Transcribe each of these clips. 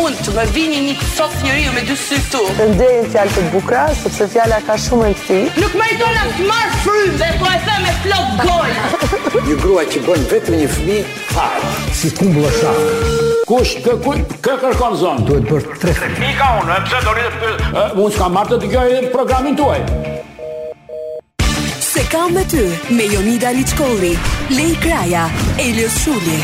unë të më vini një sot njeriu me dy sy këtu. Përnderin fjalë të bukura, sepse fjala ka shumë rëndësi. Nuk meriton as të marr frymë dhe po e them me plot gojë. Një grua që bën vetëm një fëmijë fare. si kumbulla shafë. Kush kë kë, kë kërkon zonë? Duhet bërë tre Pika unë, e pse do rritë pyet? Unë s'kam marrë të dëgjoj programin tuaj. Se kam me ty me Jonida Liçkolli, Lej Kraja, Elios Shuli.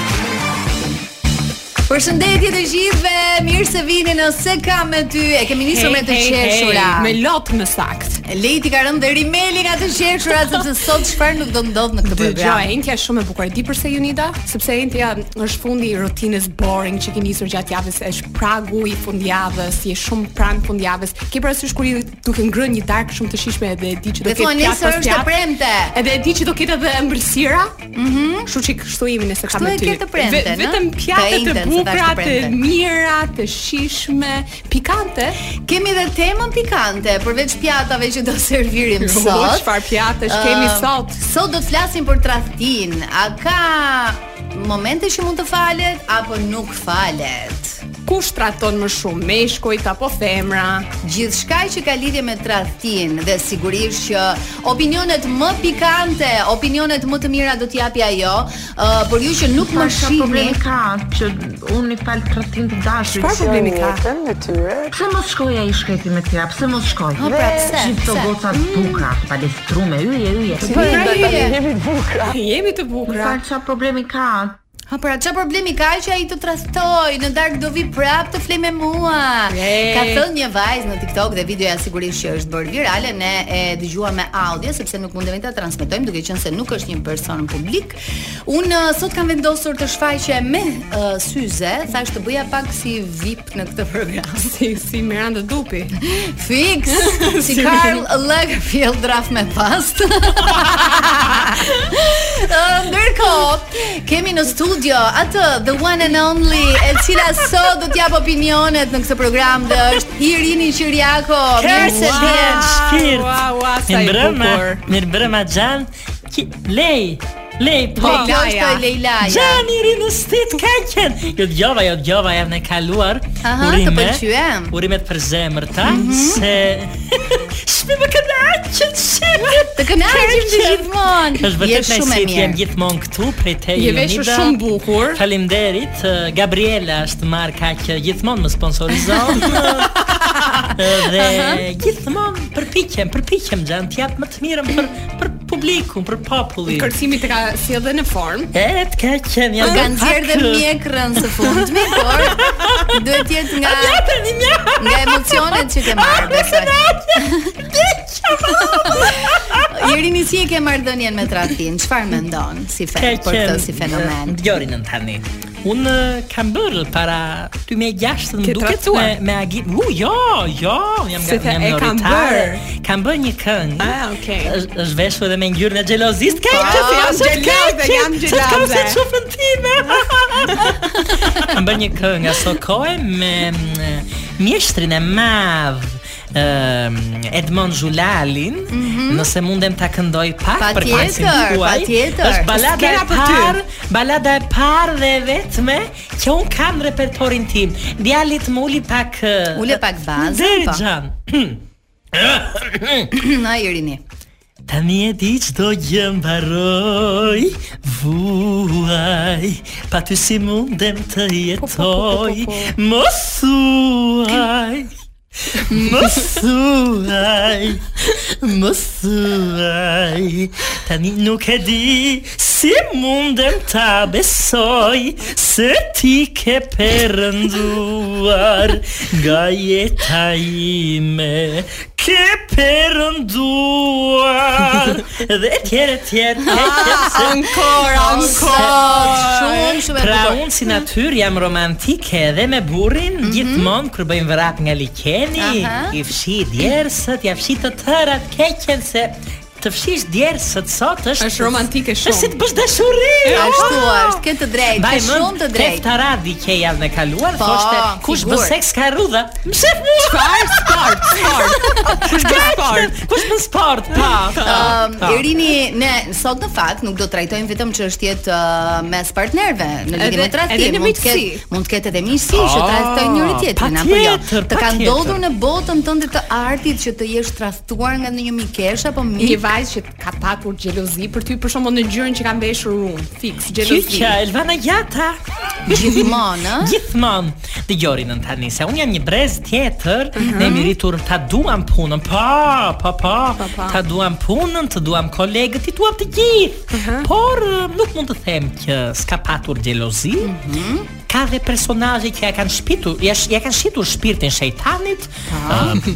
Përshëndetje të gjithëve, mirë se vini në Se kam me ty. E kemi nisur me të qeshura. me lot më sakt. Lejti ka rënë dhe rimeli nga të qeshura sepse sot çfarë nuk do ndodh në këtë Dëgjoj, program. Entja është shumë e bukur. Di pse Unida? Sepse Entja është fundi i rutinës boring që ke nisur gjatë javës, është pragu i fundjavës, je shumë pranë fundjavës. Ke parasysh kur i duke ngrënë një darkë shumë të shishme edhe e di që do Dhe thua ketë pjatë nesër është pas e pjatë. premte. Edhe e di që do ketë edhe ëmbëlsira. Mhm. Kështu që kështu jemi nëse kam Kështu me e ty. ke të premten, Ve- ëh? Vetëm Të pjatë të ejten, se bukura, thash të të premten. mira, të shishme, pikante. Kemi edhe temën pikante përveç pjatave që do servirim Jo, sot. çfarë pjatësh kemi Ë, sot? Sot do të flasim për tradhtin. A ka momente që mund të falet apo nuk falet? Kush trajton më shumë, meshkujt apo femra? Gjithçka që ka lidhje me tradhtin dhe sigurisht që opinionet më pikante, opinionet më të mira do t'i japi ajo. Ë, por ju që nuk më Pasha shihni, problemi ka që unë i fal tradhtin të dashurit. Çfarë problemi ka? Jetën e tyre. Pse mos shkoj ai shkrepi me tira? Pse mos shkoj? Po, pra, pse? Gjithë të Pse? gocat buka, palestrume, yje, yje. Po, Pra, pra, tani je. jemi të bukura. Jemi të Më bukura. fal çfarë problemi ka? Ha pra çfarë problemi ka që ai të trastoj në darkë do vi prap të flej me mua. Ej. Ka thënë një vajzë në TikTok dhe videoja sigurisht që është bërë virale, ne e dëgjuam me audio sepse nuk mundemi ta transmetojmë duke qenë se nuk është një person publik. Unë eh, sot kam vendosur të shfaqem me eh, syze, thash të bëja pak si VIP në këtë program. Si, si Miranda Dupi. Fix, si Si Karl Lagerfeld draf me past. Ë, Ndërkohë, kemi në studio atë the one and only, e cila sot do t'jap opinionet në këtë program dhe është Irini Qiriako. Mirë se vjen. shpirt. Ua, ua, sa i Mirëbrëma, bukur. mirëbrëma Xhan. Ki- Lej, lej, po. Kjo Laja. është e Leilaja. Xhan i rinë stit ka qenë. Jo djova, jo djova javën e kaluar. Aha, të pëlqyem. Urimet për zemërta se shpi më kanë aqë shit. Të kënaqim Ka të qenë. gjithmonë. Është Je vërtet shumë e nëjësit, jam mirë. gjithmonë këtu prej te Je veshur Jonida. shumë bukur. Faleminderit. eh, Gabriela është marka që gjithmonë më sponsorizon. Eh, dhe gjithmonë përpiqem, përpiqem xhan të jap më të mirën për për publikun, për popullin. Kërcimi të ka si edhe në formë. E të ka qenë jam Ka nxjerrë dhe mjekrën së fundmi, por duhet të jetë nga nga emocionet që ke marrë. besoj. Irini si e ke marrëdhënien me tradhtin? Çfarë mendon si fe për këtë si fenomen? Djori në tani. Unë eh, kam bërë para 2006 Ke më duket me tratuar? me Agi. U jo, jo, jam Se the, e nga jam kam minoritare. bërë. Kam bërë një këngë. Ah, okay. Është është veshur edhe me ngjyrën e xhelozist. Po, Ka që se jam është xheloze, që- jam që të Kam xheloze. se çufën time. Kam bërë një këngë nga Sokoe me mm, mjeshtrin e madh ëm, Edmond Zhulalin, nëse mundem ta këndoj pak Mhm. Pa për pasin tjetër, tuaj. pa tjetër. Është balada S'kena e për ty. parë, balada e parë dhe e vetme që un kam në repertorin tim. Djalit më uli pak ë, Ule pak bazën, Deri po. xhan. Na Irini. Tani e di çdo gjë mbaroj Vuaj Pa ty si mundem e të jetoj Mos uaj Mos uaj Mos uaj Tani nuk e di Si mundem ta besoj Se ti ke perënduar Nga jeta ime Ke perënduar Dhe etjer, etjer, etjer se- Ankor, Shumë shumë e Pra bukur. unë si natyrë jam romantike edhe me burrin gjithmonë kur bëjmë vrap nga liqeni, Mhm. Aha. i fshi djersët, ja fshi të tërat keqen se të fshish djerë së të sot është Është romantike shumë. Është si të bësh dashuri. Ashtu është, ke të drejtë, Mbaj ke mend, shumë të drejtë. Tefta Radi ke javën e kaluar, Po, thoshte kush bë sigur. seks ka rrudha. Mshef mua. Çfarë sport, sport. Kush bën sport? Kush bën sport? Pa, pa. Ah, Ëm, pa. Irini, ne sot në fakt nuk do të trajtojmë vetëm çështjet ë, mes partnerëve në lidhje Edhe- me edhe tradhtim, në mund të miqësi. ketë mund të ketë edhe miqësi që Ah, tradhtojnë njëri tjetrin apo jo. patjetër, Të ka patjetër. ndodhur në botën tënde të artit që të jesh tradhtuar nga ndonjë mikesh apo Një mik. vajzë që ka patur xhelozi për ty për shembull në gjërin që ka mbeshur unë, fiks xhelozi. Kyqa, Elvana Jata. Gjithmonë, ë? Gjithmonë. Dëgjori nën tani se un jam një brez tjetër, Mhm. ne jemi rritur ta duam punën. Pa, pa, pa. Pa, pa. Ta duam punën, të duam kolegët, i duam të gjithë. Mhm. Por eh, nuk mund të them që s'ka patur xhelozi. Mhm. Ka dhe personazhe që ja kanë shpitur, ja, sh- ja kanë shitur shpirtin shejtanit. Ah. eh,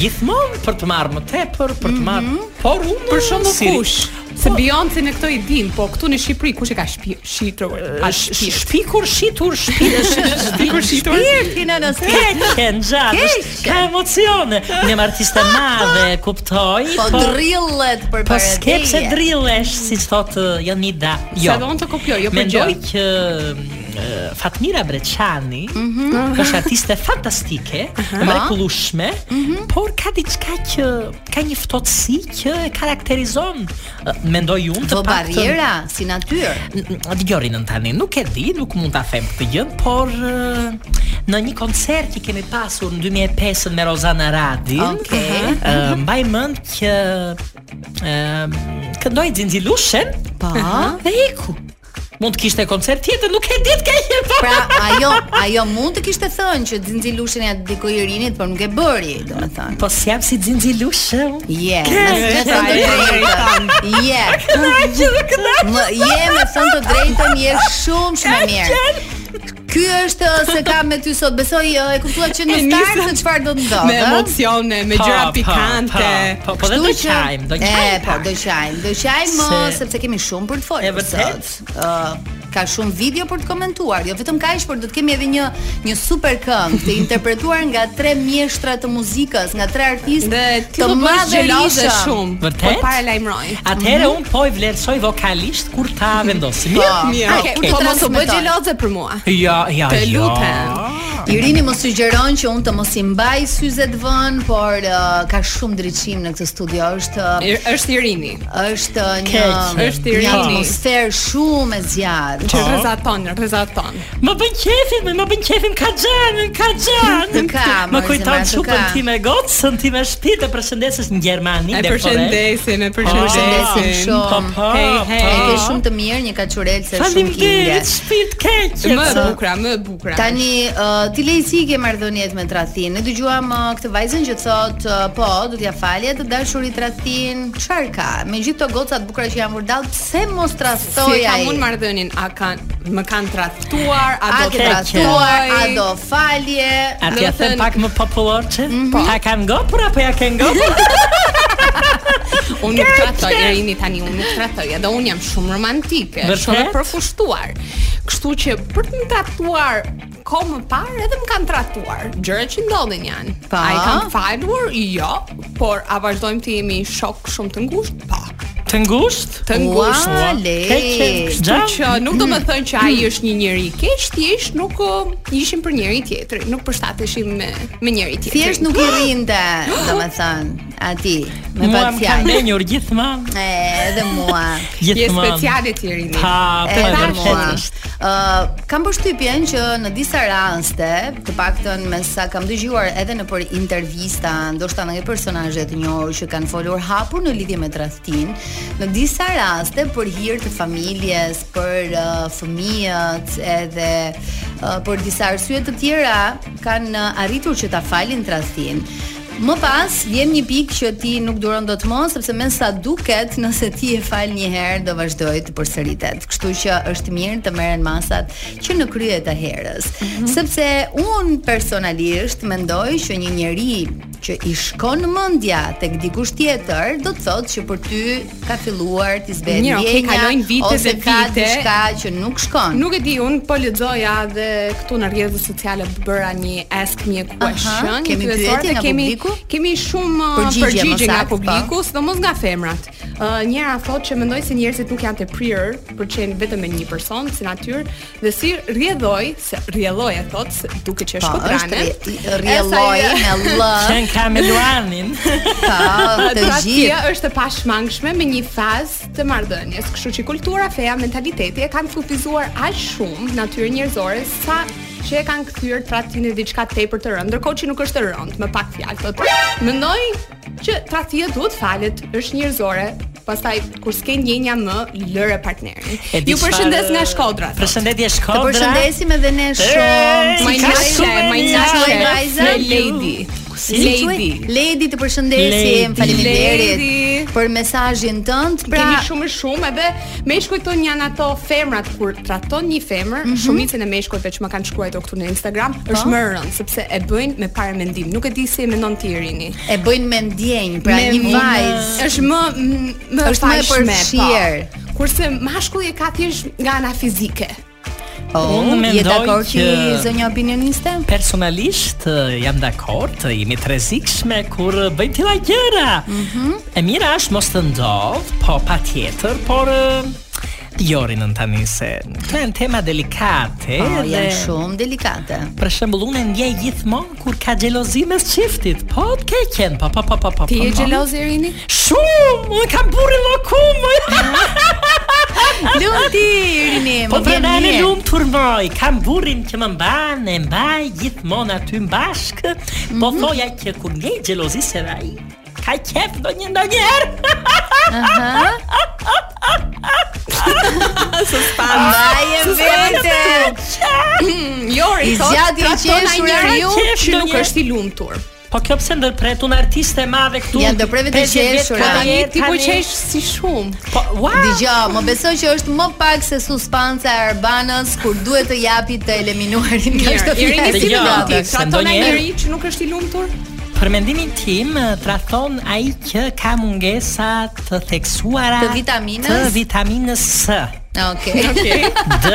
Gjithmonë për të marrë më tepër, për të marrë. Por unë Mhm. Për shembull si- kush? Se Beyoncé në këto i din, po këtu në Shqipëri kush e ka shpi- shitur? A Sh- shpi- Shpikur, shitur, shpikur, shpikur, shitur. Shpirtin në Keqen, gjatë, është- ka emocione. Unë jam artiste madhe, kuptoj. Po drillet për Po skep se barateje. drillesh, si që thotë uh, Jonida. Jo. Sa do unë të kopjoj, jo për gjë. Mendoj që uh, Fatmira Breçani është artiste fantastike, e mrekullueshme, por ka diçka që ka një ftohtësi që e karakterizon, uh, mendoj unë, të Po barriera si natyrë. Dëgjori nën tani, nuk e di, nuk mund ta them këtë gjë, por eh, në një koncert që kemi pasur në 2005 me Rozana Radin, Okej. eh, mbaj mend që ë këndoi Xinxilushen, Po. dhe iku. Mund të kishte koncert tjetër, nuk e di të po. kaqë. Pra ajo ajo mund të kishte thënë që Xinxilushin ja dedikoi Irinit, por nuk e bëri, domethënë. Po si jam si Xinxilushe. unë. Je, me thënë të drejtën. Je. Më je me thënë të drejtën, je shumë shumë e mirë. Ky është ë, se kam me ty sot. Besoj ë, e kuptua që në E start nisëm se çfarë do të me ndodhë. ë? emocione, me Po, gjëra po, pikante. Po, po, po dhe Kështu do që- qajm, do E, qajm. po, pak. do qajm. Do qajm ë, Se- sepse kemi shumë për të folur. E vërtet? sot. Ë, ka shumë video për të komentuar, jo vetëm kaq, por do të kemi edhe një një super këngë të interpretuar nga tre mjeshtra të muzikës, nga tre artistë Dhe ti do bësh xheloze madhërisëm. shumë. Vërtet? Po para lajmëroj. Atëherë un po i vlerësoj vokalisht kur ta Po, vendosim. Mirë, Mirë, Okej, okay, kur të po mos u bë transmetoj. xheloze për mua. Ja, ja, Të ja. lutem. Irini më sugjeron që unë të mos i mbaj syzet vën, por uh, ka shumë drejtim në këtë studio. Është uh, I- Është Irini, është uh, një Keq. Po. Është një Irini. atmosferë shumë e zjarrt. që rrezaton, rrezaton. Më bën qefin, më- më bën qefin ka xhanën, ka xhanën. Të ka, Më mërzi, kujton ma, të çupën ka. time gocën, time shtëpi të përshëndesësh në Gjermani E dhe përshëndesim, e Po, përshëndesim përshëndesim shumë. Po, po, Hej, hej. E ke po. shumë të mirë, një kaçurel se shumë kinge. Faleminderit, shpirt keq. Më e Më bukura, më e bukura. Tani uh, ti Lejsi ke marrëdhëniet me Tradhin. Ne dëgjuam uh, këtë vajzën që thot uh, po, do t'ja falje të dashurit Tradhin. Çfarë ka? Me gjithë këto goca të bukura që janë vurdall, pse mos si tradhtoj e kam ai? unë marrëdhënien, a kanë më kanë tradhtuar, a A do ke të tradhtuar, a do falje? Atë ja Do them thënë- pak më popullor që Ta kanë ngopur apo ja kanë ngopur Unë nuk tradhtoj Irini tani, unë nuk tradhtoj, edhe unë jam shumë romantike, Vërtet? shumë e përfushtuar. Kështu që për të më tradhtuar ko më parë edhe më kanë tradhtuar. Gjërat që ndodhin janë. Pa. A i kanë falur? Jo, por a vazhdojmë të jemi shok shumë të ngushtë? Po. Të ngushtë? Të ngushtë. Ua, Keq, le. Kështu Gjam? që nuk do Mm. të thënë që ai është një njeri i keq, thjesht nuk uh, ishim për njëri tjetrin, nuk përshtateshim me me njëri tjetrin. Thjesht nuk i rrinte, domethënë, aty me Mua pak më kanë fjalë. menjur gjithmonë E, edhe mua. je Gjithmonë speciale ti Irini. Pa, E, po e edhe mua. vërtetë Ë, kam përshtypjen që në disa raste, të paktën me sa kam dëgjuar edhe në për intervista, ndoshta nga personazhe të njohur që kanë folur hapur në lidhje me tradhtin, në disa raste për hir të familjes, për uh, fëmijët, edhe ë, për disa arsye të tjera kanë ë, arritur që ta falin tradhtin. Më pas vjen një pikë që ti nuk duron dot më, sepse me sa duket, nëse ti e fal një herë do vazhdoj të përsëritet. Kështu që është mirë të merren masat që në krye të herës. Mhm. Sepse un personalisht mendoj që një njeri që i shkon mendja tek dikush tjetër, do të thotë që për ty ka filluar të zbëhet Mirë, okej, kalojnë vite ose dhe ka vite. diçka që nuk shkon. Nuk e di, un po lexoja dhe këtu në rrjetet sociale bëra një ask me a question, Aha, një kemi pyetje pyetje dhe nga kemi publiku? kemi shumë uh, Përgjigje, përgjigje më nga saktë, po. publiku, sidomos nga femrat. Uh, njëra thotë që mendoj se njerëzit nuk janë të prirë për të qenë vetëm me një person, si natyrë, dhe si rrjedhoj, se rrjedhoj e thotë, se duke që Po, është kotrane. rrjelloj me lë. Qen ka me Luanin. Po, të Tratia gjithë. pra, është e pashmangshme me një fazë të marrëdhënies, kështu që kultura, feja, mentaliteti e kanë fufizuar aq shumë natyrën njerëzore sa që e kanë kthyer tratin e diçka tepër të rëndë, ndërkohë që nuk është e rëndë, më pak fjalë thotë. Mendoj që tratia duhet falet, është njerëzore, pastaj kur s'ke ndjenja më lëre partnerin. E di Ju përshëndes çfarë- nga Shkodra. thotë. Përshëndetje Të Shkodra. përshëndesim edhe ne Ej, shumë. My ka nice, shumë my njerëz. nice, Shkoj, my Vajza. lady. Si Lady. quhet? Lady të përshëndesim. Lady. Lady. Faleminderit për mesazhin tënd. Pra, Pra, kemi shumë e shumë edhe me shkujton janë ato femrat kur trahton një femër, Mhm. shumicën e meshkujve që më kanë shkruar këtu në Instagram, Po. është më rënd sepse e bëjnë me paramendim. Nuk e di si e mendon ti Irini. e bëjnë me ndjenjë, pra Me- një vajzë. është më m- më Është më e fajshme, po. përfshirë. Kurse mashkulli e ka thjesht nga ana fizike. Unë Oh, je mendoj dakord që që- zonja opinioniste? Personalisht eh, jam dakord, eh, jemi të rrezikshme kur eh, bëjmë tilla gjëra. Mhm. E mira është mos të ndodh, po patjetër, por eh, jori nën tani se këto janë tema delikate Po, dhe janë shumë delikate. për shembull unë e ndjej gjithmonë kur ka xhelozi mes çiftit. Po, të keqen, po po po po po. Ti po, je po. xheloz Irini? Shumë, unë kam burrin lokum. Luti, Irini, Po më vjen prandaj në mirë. lumë turmoj, kam burrin që më mban, e mbaj gjithmonë aty mbashk. Po thoja që kur ndjej xhelozi se ai ka qef do një ndonjëherë. Mbaje vete. Jori I thotë, zgjati i trahton ai qeshur njeriu ai qeshur që nuk njëherë. është i lumtur. Po kjo pse ndërpret unë artiste e madhe këtu. Janë ndërprerve të 50 vjet qeshura. ka Tani jetë, ti po tani- qesh si shumë. Po ua. Dgjoj, më besoj që është më pak se suspanca e Arbanës kur duhet të japi të eliminuarin nga Mirë, çdo Irini si Dëgjoj, mendon ti? se Trahton ai ndonjëherë- njeriu që nuk është i lumtur? Për mendimin tim trahton ai që ka mungesa të theksuara Të vitaminës? të vitaminës S, Okej. D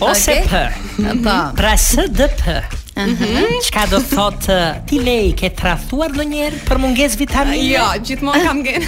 ose Okej. P. Po. Pra SDP. Mhm. Mhm. Çka do thotë ti lej ke tradhuar ndonjëherë për mungesë Po, vitamine? Jo, gjithmonë kam gjen.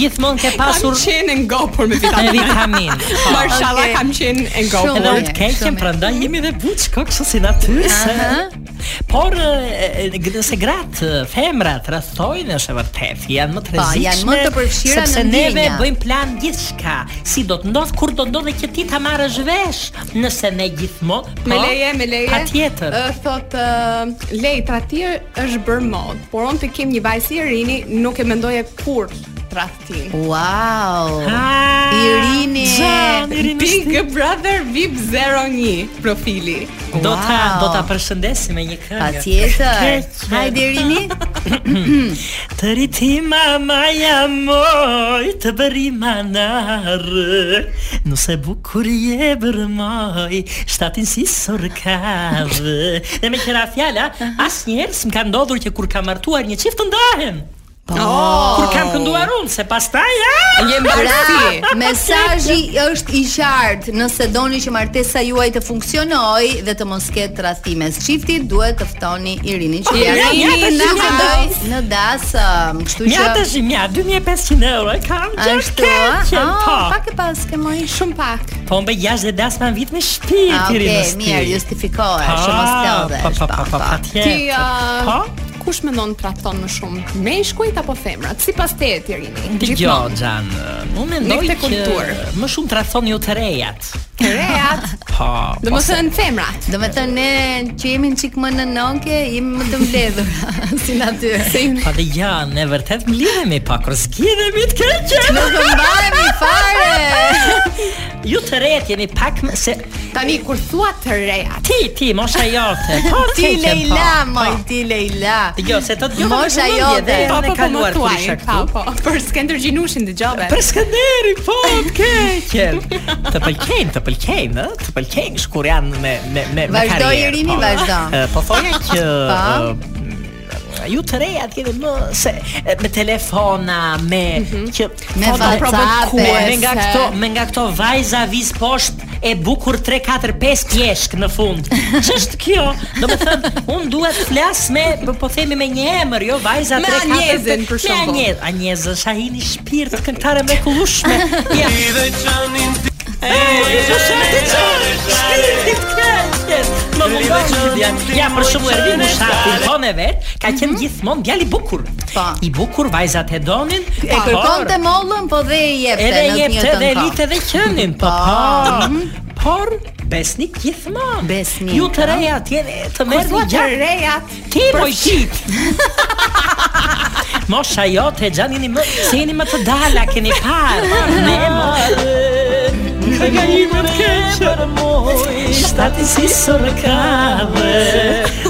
Gjithmonë ke Kam pasur qenë e ngopur me e vitaminë. vitaminë. Po. Mashallah Okej. kam qenë e ngopur. Shumë. Shumë Edhe unë të mirë, keqen, shumë prandaj jemi dhe buç kokë kështu si natyrë. se- Por e, e, g- se gratë, e, femrat rrethojnë është e vërtet, janë më të Po, rrezikshme. janë më të përfshira sepse në neve ndjenja. bëjmë plan gjithçka, si do të ndodh, kur do të ndodh dhe që ti ta marrësh vesh, nëse ne gjithmonë po, Me leje, me leje. Patjetër. Ë thot uh, lej tradhtir është bër mod, por unë të kem një vajzë si Irini nuk e mendoje kur tradhtin. Wow. Ah, Irini. Gjan, Irini Big Brother VIP 01 profili. Do Wow. ta do ta përshëndesim me një këngë. Patjetër. Keq. Hajde Irini. Të riti mama jamoj të bëri manarë Nëse bukur je bërmoj Shtatin si sorkavë Dhe me qëra fjala Asë njerës më ka ndodhur që kur kam martuar një qift të ndahem Kur kam kënduar unë Se pas taj Je mbarsi. Pra, mesazhi është i qartë. Nëse doni që martesa juaj të funksionojë dhe të mos ketë tradhti mes çiftit, duhet të ftoni Irinin që ja, janë ja, Irini tash, në ja. das, në das, ëm, kështu Mja të që shimja 2500 euro E kam që Ashtu, keqen, ah, Po pak e pas ke mori Shumë pak. Po mbe jashtë dhe dasë ma në vit me shpi Ah, Okej, okay, mirë, justifikohesh, që mos lodhesh. Po, po, po, po, pa Ti uh, Po? kush mendon tradhton më shumë? Meshkujt apo femrat? Sipas teje Irini. Dëgjoj Xhan, unë mendoj këtë që kulturë. më shumë tradhton ju të rejat. Reat. Po. Domethënë femrat. Do me thënë ne që jemi në qikë më në nënke, jemi më të mbledhura si natyrë. Se ju Po dhe ja, ne vërtet mlidhemi pa kur zgjidhemi të keqe. Nuk mbajemi fare. Ju të rejat jeni pak më se tani kur thua të reat. ti, ti mosha jote. Po Ti keqe, Leila, po, moj, po. ti Leila. Dëgjoj se të dëgjoj. Mosha jote. Po, po, po, më po, thuaj, po, po, po. Për Skender Gjinushin dëgjove. Për Skënderi, po, të keqen. Të pëlqejnë, të pëlqejnë, ë, të pëlqejnë kur janë me me me me Vazhdo, karrierë, Irini, po. vazhdo. Ë, Po thoja që Po. ë, ju të reja t'jeni më se e, me telefona me që Mhm. Me foto WhatsApp-e, provokuar, me nga se- këto me nga këto vajza viz poshtë e bukur 3 4 5 pjeshk në fund. Ç'është kjo? Domethënë, un dua të flas me po- po themi me një emër, jo vajza Me 3 4 Anjezën, për shembull. Me Anjezën, Anjezën Shahini shpirt këngëtare mrekullueshme. Ja. Ej, ju shëtë çfarë? Shpirtit këngës. Më mundon që vjen. Ja, për shembull Ervin Mushati, po me vet, ka qenë Mhm. gjithmonë djalë i bukur. Po. I bukur vajzat e donin. E kërkon të mollën, po dhe i jepte Edhe në të jepte njëjtën dhe kohë. elite dhe qenin, po po. Por besnik gjithmonë. Besnik, Ju të reja atje të merrni Po thua të gjak. rejat, Ti mojqit. Mosha jote, gjanini më, se jeni më të dala, keni parë, ne më, Në gajimën ke qërë moj, shtati si sërë kave,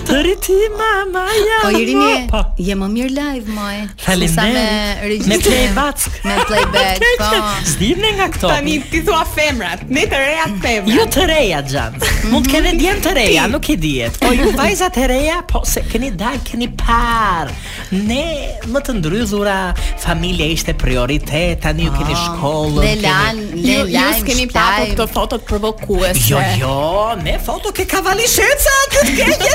të rriti mama ja. Po Irini, Po. je më mirë live moj. Faleminderit. Sa me regjistrim. Me playback. Me playback, po. Zdivne nga këto. tani ti thua femrat, ne të rejat femrat. Jo të reja xhan. Mund të kenë djem të reja, nuk e dihet. Po ju vajzat e reja, po se keni dal, keni par. Ne më të ndryzura, familja ishte prioritet, tani ju Ah, keni shkollën. Dhe keni- lan, le Ju, ju lan. s'keni patur këto fotot provokuese. Jo, jo, ne foto ke kavalishërca, këtë ke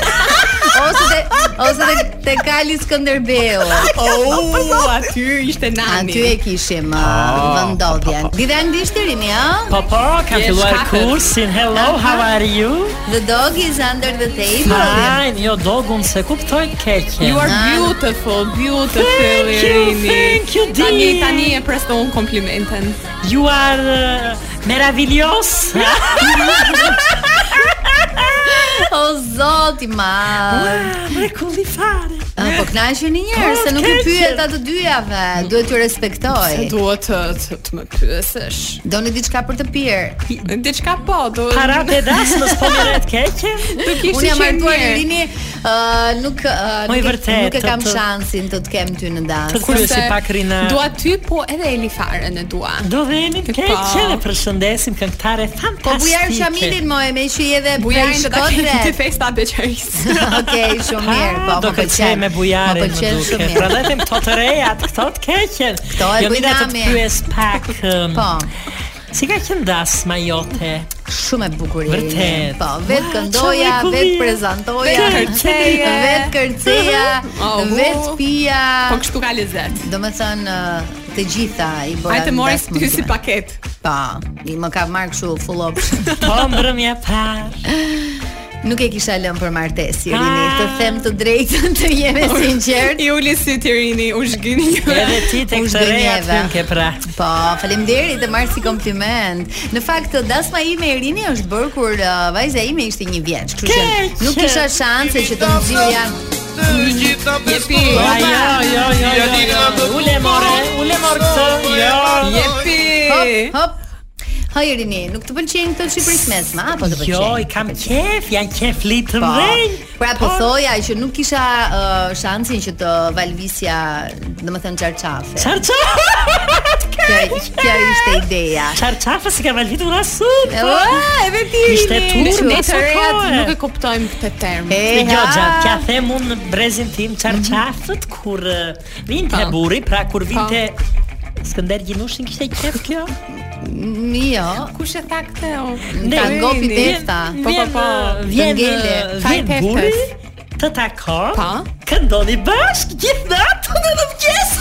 Ose te ose te, te Kali Skënderbeu. po, Oh, aty ishte nani. Aty e kishim Ah. uh, vendodhjen. Dita anglisht Irini, ë? Po, po, kam Yes, filluar katër. kursin, hello, how are you? The dog is under the table. Fine, jo, dogun se kuptoj keqe. You are Nani. beautiful, beautiful Thank you, Irini. thank you, Tani dear. tani e pres të un komplimentin. You are uh, meraviglios. O zoti ma. Mrekulli fare. Ë, Po kënaqeni një herë Po, se nuk ju keqe. pyet atë dyjave. Duhet t'ju respektoj. Duhet të të, të më pyesësh. Doni diçka për të pirë. Diçka po, do. Para të dasmës po miret keqe. do kishte Unë jam qenë martuar mirë. në lini, ë, nuk ë, Mo i nuk, e, vërtet, nuk e të- kam të- shansin të të kem ty në Të dasë. kurse Kurse pak rina. Dua ty, po edhe Eli Farën e dua. Do vemi Po. keqe dhe përshëndesim këngëtare fantastike. Po bujar Shamilin më e me që i edhe Bujarin prej do ta kemi të shkodret. festa beqarisë. Okej, shumë mirë, po do më kërcej pëlqen. me bujarin Më pëlqen shumë Pra mirë. dhe them këto të reja, këto të keqen Këto e Jo nida të të bujnami. pyes pak um, Po, Si ka qenë dasma jote? shumë e bukur. jeni. Vërtet. Po, vetë Ua, këndoja, vetë çfarë mrekullie. prezentoja, Vetë kërceje. vetë kërceja, Oh, mu. vetë pija. Po kështu ka lezet. Do me thënë, uh, të gjitha i bëra. Hajtë në more dasmën ty si time. paket. Po, i më ka marrë kështu full option. Po mbrëmja par Nuk e kisha lënë për martesë, Irini, të them të drejtën, të jem e sinqert. I uli si Tirini, u zgjini një. Edhe ti të U këtë reja zgënjeve. të ke pra Po, faleminderit e marr si kompliment. Në fakt dasma ime Irini është bërë kur uh, vajza ime ishte një vjeç, kështu Keq. që nuk kisha shanse që të nxirja. Jepi, Po jo, jo, jo, jo, jo Ule more, ule more këtë Jo, jepi. Hop, hop. Ha Irini, nuk të pëlqejnë këto Shqipërisë mesme, apo të pëlqejnë? jo, i kam qef, janë qef litë të Po. mdhenj Pra po thoja që nuk kisha uh, shansin që të valvisja, domethënë çarçafe. Kjo kjo ishte ideja. Qarqafë si ka valvitur asun Ua, edhe ti. Ishte Irini. turp. Ne të Sa rejat kohë? nuk e kuptojmë këtë term. E E, jo ha. gjatë, kja them unë në brezin tim qarqafët kur eh, vinte Po. burri, pra kur Po. vinte Skënder Gjinushin kishte qef kjo? Jo. Kush e tha këtë? Ne- Ta ngopi Irini. tefta. Po po po. Vjen, ngele. eh, Faj vjen peftës. burri të takon, Po. këndoni bashkë gjithë natën edhe mëngjes.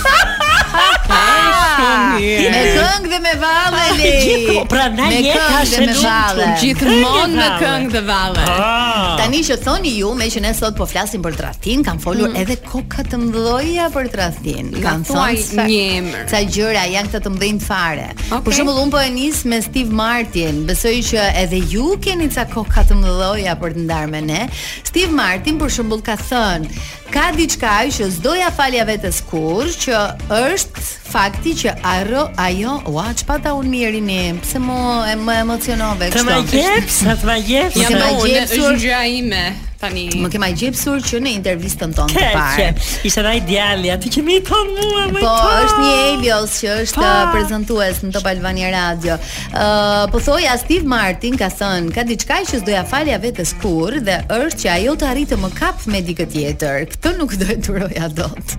Shumë mirë. Me këngë dhe me valle le. Gjithko, pra na Me jeta këngë është dhe e me lumtur, valle. Gjithmonë me Këngë dhe këngë dhe valle. Ah, Tani që thoni ju, me që ne sot po flasim për tradhtin, kam folur Mm. edhe koka të mdhoja për tradhtin. Kan thuaj thonë sa- një emër. Sa gjëra janë këta të mdhenjë të fare. Për Okej. shembull, un po e nis me Steve Martin. Besoj që edhe ju keni ca koka të mdhoja për të ndarë me ne. Steve Martin për shembull ka thënë, ka diçka që s'doja falja vetes kurrë, që është fakti që arro ajo, ua, çpata unë mirin e, pse mu e më emocionove të ma jep, sa të ma jep. Jam Jam se- me me unë, gjepsur. është gjëja ime tani. Më kema i gjepsur që në intervistën tonë të parë. Keqe. Ishte ai djali, aty që më i thon mua, më i Po, thon. është një Elios që është Po. uh, prezantues në Top Albania Radio. Ë, po thoja Steve Martin ka thënë, ka diçka që s'doja falja vetes kurrë dhe është që ajo të arritë më kap me dikë tjetër. Këtë nuk do e duroja dot.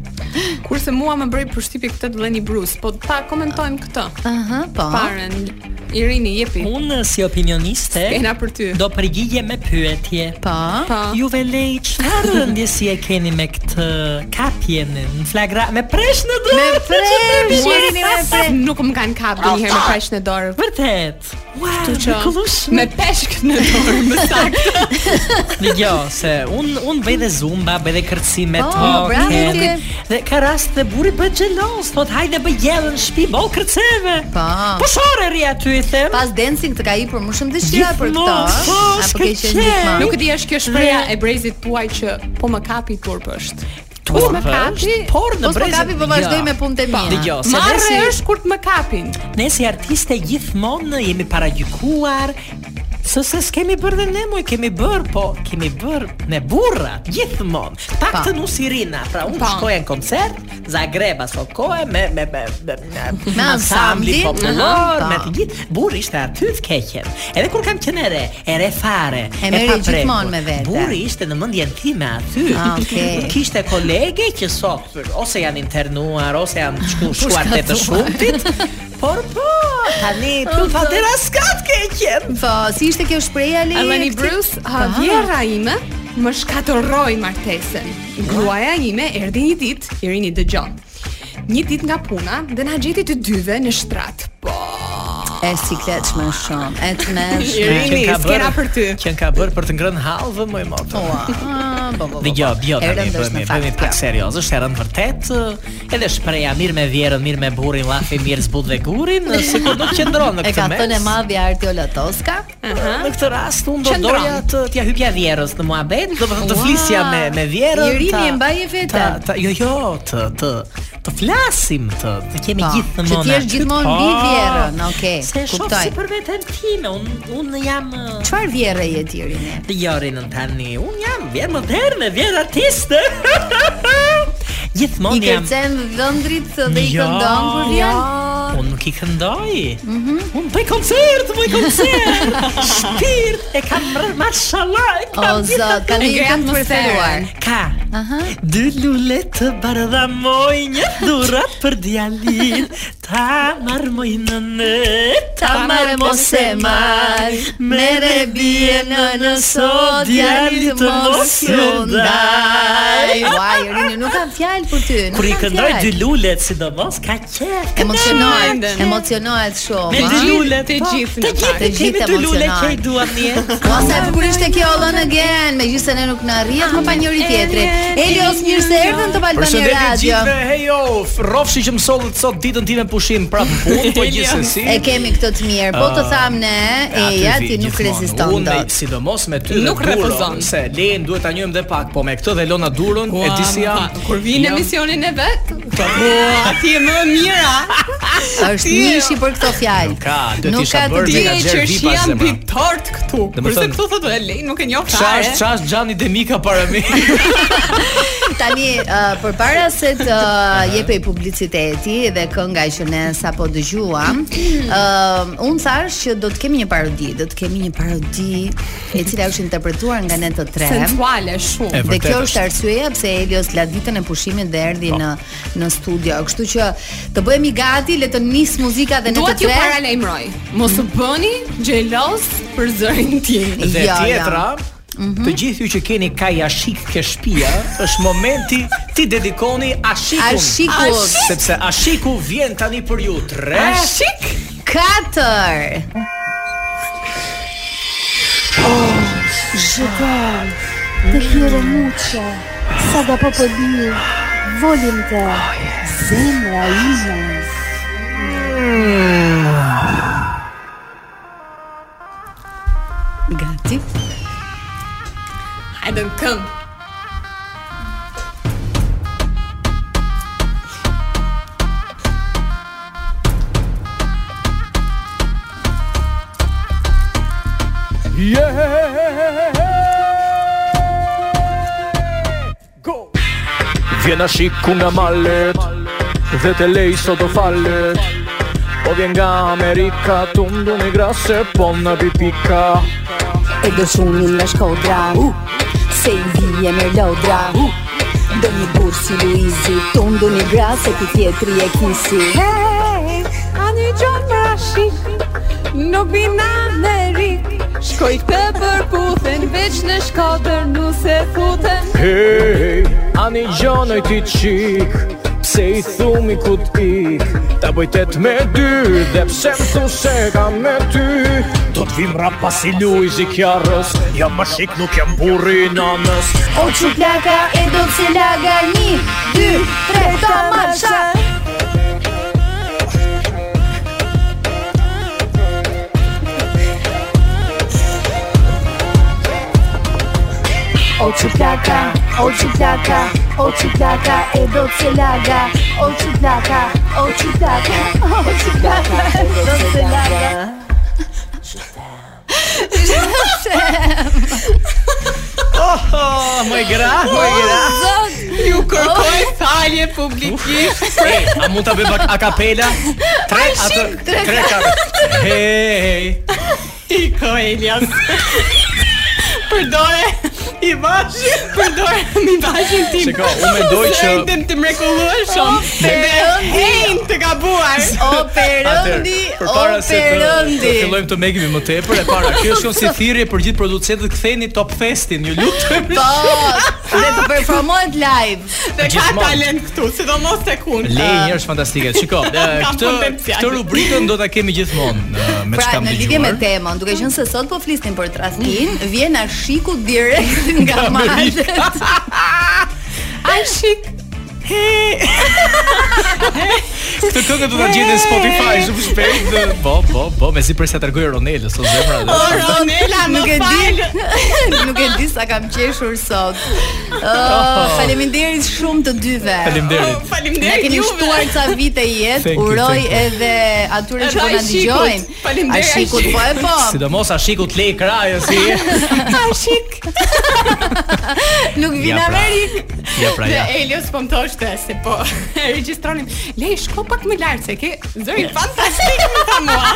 Kurse mua më bëri përshtypje këtë të Lenny Bruce, po ta komentojmë këtë. Aha, po. Parën Irini, jepi. Unë si opinioniste Kena për ty. do përgjigje me pyetje. Po. Pa. Juve lej, çfarë ndjesi e keni me këtë kapjen në flagra me presh në dorë? Me presh, Çfarë Irini, me presh. presh. Nuk më kanë kap ndonjëherë me paqë në dorë. Vërtet. Wow, Kështu që mrekullueshme. me peshk në dorë, më saktë. Dëgjo, jo, se un un bëj dhe zumba, bëj dhe kërcime Oh, toke. bravo ti. Dhe ka rast dhe burri bëhet xhelos, thot hajde bëj gjellën në shtëpi, bëu kërceve. Po. Po shore rri aty i them. Pas dancing të ka i për më shumë dëshira për Gjithmonë, këto. po, ë? Apo ke qenë s'ka gjithmonë? qenë. Nuk e di është kjo shpreha e brezit tuaj që po më kapi turp është. Turp Po më kapi. është, por në Mos po brezin- kapi po vazhdoj Jo. me punët e mia. Dëgjoj, se ne Marrë si është kur të më kapin. ne si artiste gjithmonë jemi paragjykuar, Se se s'kemi bërë dhe ne moj, kemi bërë, po kemi bërë me burrat, gjithmonë. Pak Pa. të nu Sirina, pra unë Pa. shkoja në koncert, Zagreba sokoje me, me, me, me, me, Me ansambli, ansambli popullor, aha, me pa. të gjithë. Burri ishte aty të keqen. Edhe kur kam qenë ere, ere fare, E merri paprekur. gjithmonë me vete. Burri ishte në mendjen time aty. Ah, okay. Nuk Kishte kolege që sot ose janë internuar ose janë shku, shkuar te të shumtit, por po, tani tu fatera skat ke qenë. Po, si ishte kjo shpreha Ali? Alani Këti- Bruce, Pa. vjera ime më shkatërroi martesën. Gruaja ime erdhi një ditë, Irini dëgjon. Një ditë nga puna dhe na gjeti të dyve në shtrat. Po, E siklet më shumë, e të mëshme. Irini, Qen ka s'kena bërë- për ty. Qen ka bër për të ngrënë hallvë më motë. Ua, po, po, po. Dhe jo, jo, tani Erën është bëhemi në bëhemi fakt pak kjo. serioz, është e rëndë vërtet. ë, Edhe shpreha mirë me vjerën, mirë me burrin, llafi mirë zbut dhe gurin, ë, sikur do të qëndron në E ka këtë mes. thënë e madhja Artiola Toska. Në këtë rast unë do Qëndron. doja të t'ja hypja vjerës në muhabet, do të thonë të flisja me me vjerën. Irini ta- e mbaje veten. ta- ta- Jo, jo, të të të flasim, të të kemi Po, gjithmonë. që ti jesh aty. gjithmonë Po, mbi vjerën, okay, Se shoh kuptoj. si për veten time, unë unë jam ë, Çfarë vjerre je ti Irini? të jorin në tani, unë jam vjerë moderne, vjerë artiste. I Gjithmonë jam. kërcen dhëndrit dhe i Jo. këndon kur vjen? Mhm. Unë Po, nuk i këndoj. Unë bëj koncert, bëj koncert. Shpirt e kam rrë, mashallah, e O kam gjithë zot, ka E një këngë kre të atmosferën. preferuar. Ka Dy lule të bardhamoj Një dhurat për djalin Ta marmoj në në Ta Ta marrë marmoj mos e marë Mere bie në nëso Djali të mos ju ndaj Uaj, Rini, nuk kam fjalë për ty nuk Kur i kam këndoj fjalë. dy lulet Sidomos ka qef Emocionohet, Mendem. emocionohet shumë Me ha? dy lulet Të po. gjithë në Të fakt. gjithë Të kemi gjithë dy lulet që i emocionohet. duam jetë Po sa e bukur ishte kjo All Again, megjithëse ne nuk na rrihet më pa njëri tjetrin. Elios mirë se erdhën të Albani Përshëndetje Radio. gjithve, hejo, rrofshi që më sollët sot ditën time pushim prapë në punë, po gjithsesi. E kemi këtë të mirë, po të tham ne, eja ti nuk reziston Ah, Unë me- dot. sidomos me ty Nuk dhe refuzon. Durën, se Len duhet ta njohim dhe pak, po me këtë dhe Lona Durën e di si jam. Kur vinë në jam- misionin e vet, po atje më mira. Është nishi për këto fjalë. Ka, do Nuk t'isha ka të bërë di- Ti Ti e e Menaxher qërshi vipa jam zemra. bitort këtu. Dhe më Kurse thënë- këtu thotë Elin nuk e njoh Çash, fare. çash Xhani Demika para mi. Tani uh, përpara se të uh, jepej publiciteti dhe kënga që ne sapo dëgjuam, uh, unë thash që do të kemi një parodi, do të kemi një parodi e cila është interpretuar nga ne të tre. Sensuale shumë. E Dhe vërtet kjo është. Po. është arsyeja pse Helios la ditën e pushimit dhe erdhi në në studio. Kështu që të bëhemi gati, le të nis muzika dhe ne Dua të t'ju tre. paralajmëroj. Mos u bëni xhelos për zërin tim. Dhe Ja, ja. tjetra, Të gjithë ju që keni kajashik ke shtëpia, është momenti ti dedikoni ashikun. Ashikut. Ashik. Sepse ashiku vjen tani për ju. 3 Ashik. jo. 4. Oh, Të kjere muqe, sa da po përdi, volim të, Oh, zemra ime. Hmm. Gati. Hajde në këmbë. Vjen a shiku nga malet Dhe të lej sot o falet Po vjen nga Amerika Tum du me grase Po në bipika E do shumim nga shkodra, se i vije me lodra. Do një burë si Luizi, tonë do një gra se ti tjetri e kisi. Hey, a një gjonë për ashik, pra Nuk bina në rik Shkoj të përputhen Veç në shkodër nuse futen Hej, ani gjanoj ti qik Pse i thumi ku t'ik Ta bëjtet me dy Dhe pse më thu se kam me ty Do t'vim rap pas i lujz i kjarës Jam më shik nuk jam burri i nanës O që plaka e do të laga Një, dy, tre, ta marsha O që plaka, o që plaka O që plaka e do të laga O që plaka, o që plaka O që plaka e do të laga Oho, Oh, më e gra, më e gra. Ju kërkoj falje publikisht. E, Oh. a mund ta bëj bak- a kapela? Tre atë tre kap. Hey. Iko Elias. Përdore i bashi, përdore mi bashin tim. Shiko, unë mendoj që- Se ejtëm të mrekullueshëm. O, perëndi. Ejnë të gabuar. O perëndi, Atëherë, o përpara se të, të perëndi. fillojmë të mekemi më tepër, e para, kjo është si thirrje për gjithë producentët, ktheni Top Festin, ju lutem. Po, dhe të performohet live. Dhe ka Gjithmonë. talent këtu, sidomos tek unë. Lejë është fantastike. Shiko, e, Kam këtë potencial. këtë rubrikën do ta kemi gjithmonë e, me Pra, çka në më lidhje me temën, duke qenë se sot po flisnim për tradhtin, vjen ashiku direkt nga Nga malet. Ashik. Këtë këngë do ta gjeni në Spotify shumë shpejt. dhe, Po, po, po, me si përsa tregoi Ronel, sot zemra. dhe- O, Ronela, më Nuk e falë. di, nuk e di sa kam qeshur sot. Ë, Oh. faleminderit shumë të dyve. Faleminderit. Ne Faleminderit keni juve. shtuar ca vite jetë, Thank you, uroj thank you. edhe atyre që Edhe po na Ashikut. dëgjojnë. Faleminderit, Ashikut, po e po. Sidomos Ashikut lej krajë si. Ashik. Nuk vjen Ja, pra. Amerikë. Ja pra Dhe ja. Elios po më thoshte se po e regjistronim. Lej, shko pak më lart se ke zëri fantastik më tha mua.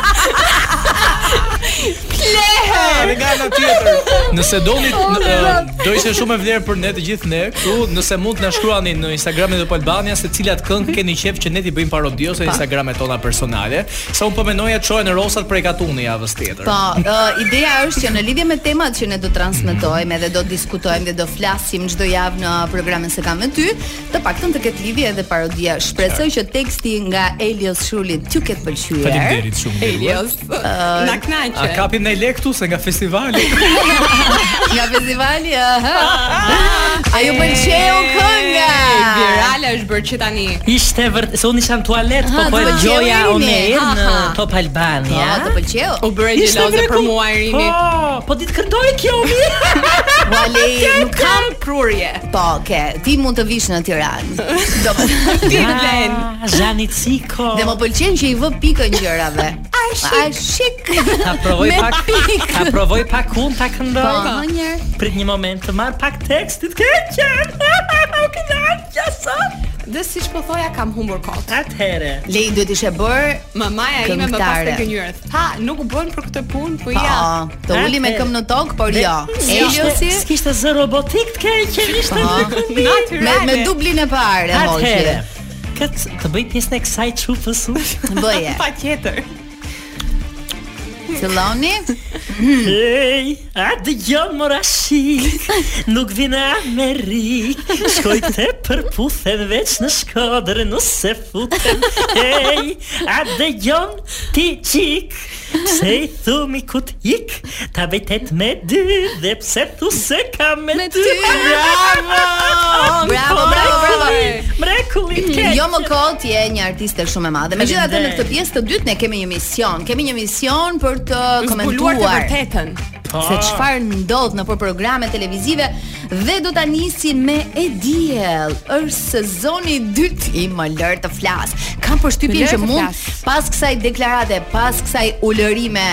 Plehe. Edhe nga ana tjetër. Nëse doni n- ë, do ishte shumë e vlerë për ne të gjithë ne këtu, nëse mund të na shkruani në Instagramin e Top Albania se cilat këngë keni qef që ne t'i bëjmë parodi ose Instagramet tona personale, sa un po mendoja të shohën rosat prej katuni javës tjetër. Po, uh, ideja është që në lidhje me temat që ne do transmetojmë edhe do diskutojmë dhe do flasim çdo javë në programin se kam me ty, të paktën të ketë lidhje edhe parodia. Shpresoj që teksti nga Elios Shuli t'ju ketë pëlqyer. Faleminderit shumë. Elios. Elios, na A knaqe. kapim ne lek këtu se nga festivali? Nga festivali, aha. A ju pëlqeu kënga? Ej, Ah. Virale është bërë që tani. Ishte vërtet, se unë isha në tualet, po Aha, po e duhet dëgjoja qeverini. unë në Aha. Top Po, Albania. të pëlqeu. U bëre xheloze për mua Irini. Po, po ditë këndoi kjo mi. Vale, nuk kam prurje. Po, ke, ti mund të vish në Tiranë. Do më Ti vlen. Zhani Ciko. Dhe më pëlqen që i vë pikën gjërave. Ai shik. Ai shik. Ta provoj Me pak. pikë. Ta provoj pak unë ta këndoj. Po, më njërë. Prit një moment të marr pak tekstit ke qenë. U kënaq ja sot. Dhe siç po thoja kam humbur kohë. Atëherë. Lej duhet ishe bërë Mamaja ime më pas të Këngëtare. gënjyrë. Tha, nuk u bën për këtë punë, po ja. Po, të uli me këmbë në tokë, por jo. Eliosi S'kishte zë robotik të ke qenë ishte Po. Natyrale. me me dublin e parë, e Atëherë. moshi. Këtë të bëj pjesën e kësaj çupës u. Bëje. Patjetër. Filloni. Ej, a dëgjon më rashik Nuk vina Amerik Shkoj të përputhen veç në shkodër nëse futen Ej, a dëgjon ti qik Pse i thumi ku t'ik Ta vejtet me dy Dhe pse thu se ka me, Me ty ty. Bravo Bravo, bravo, bravo. Mrekullit ke Jo më kot je një artiste shumë e madhe. Megjithatë në Faleminderit. këtë pjesë të dytë ne kemi një mision. Kemi një mision për të Zbuluar të Ah. Po, komentuar Po. vërtetën. se çfarë ndodh në për programe televizive dhe do ta nisim me e diell. Është sezoni i dytë i më lër të flas. Kam Më përshtypjen lër që të mund flas. pas kësaj deklarate, pas kësaj ulërime,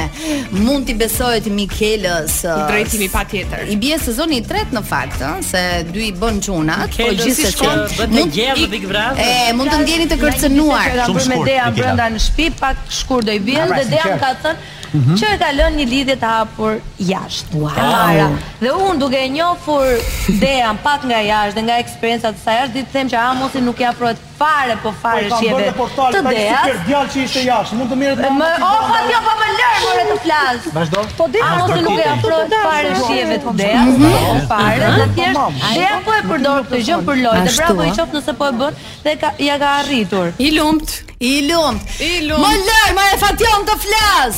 mund t'i besohet Mikelës. uh, ë, Drejtimi patjetër. I bie sezoni i tretë në fakt, ë, se dy i bën çunat, po Mikelës si gjithsesi shkon, bëhet me gjellë dhe Big Brother. E, mund të ndjeni të kërcënuar. Ka Shumë bërë me shkurt, Dejan Nikita. brenda në shtëpi, pak shkur do i bjen Abra, dhe Dejan sinqer. ka thënë që e ka lënë një lidhje të hapur jashtë. Tamara. Dhe unë duke e njohur Dejan pak nga jashtë dhe nga eksperjenca të saj jashtë, di të them që Amosi nuk i afrohet fare, po fare kam bërë shjeve. në portal, Të ka një deja. super djalë që ishte jashtë, mund të merret me Më atë që o bën pa dalë. jo pa më lër more të flas. Vazhdo. Po dhe Ah, mos e nuk e kërkoj. afrohet fare shjeve të dea, Mhm. po fare, Mhm. dhe thjesht dea po e përdor këtë gjë për lojë. Dhe Ashtu, bravo i a? qof nëse po e bën dhe ka- ja ka arritur. I lumt. I lumt. I lumt. Më lër, më e fation të flas.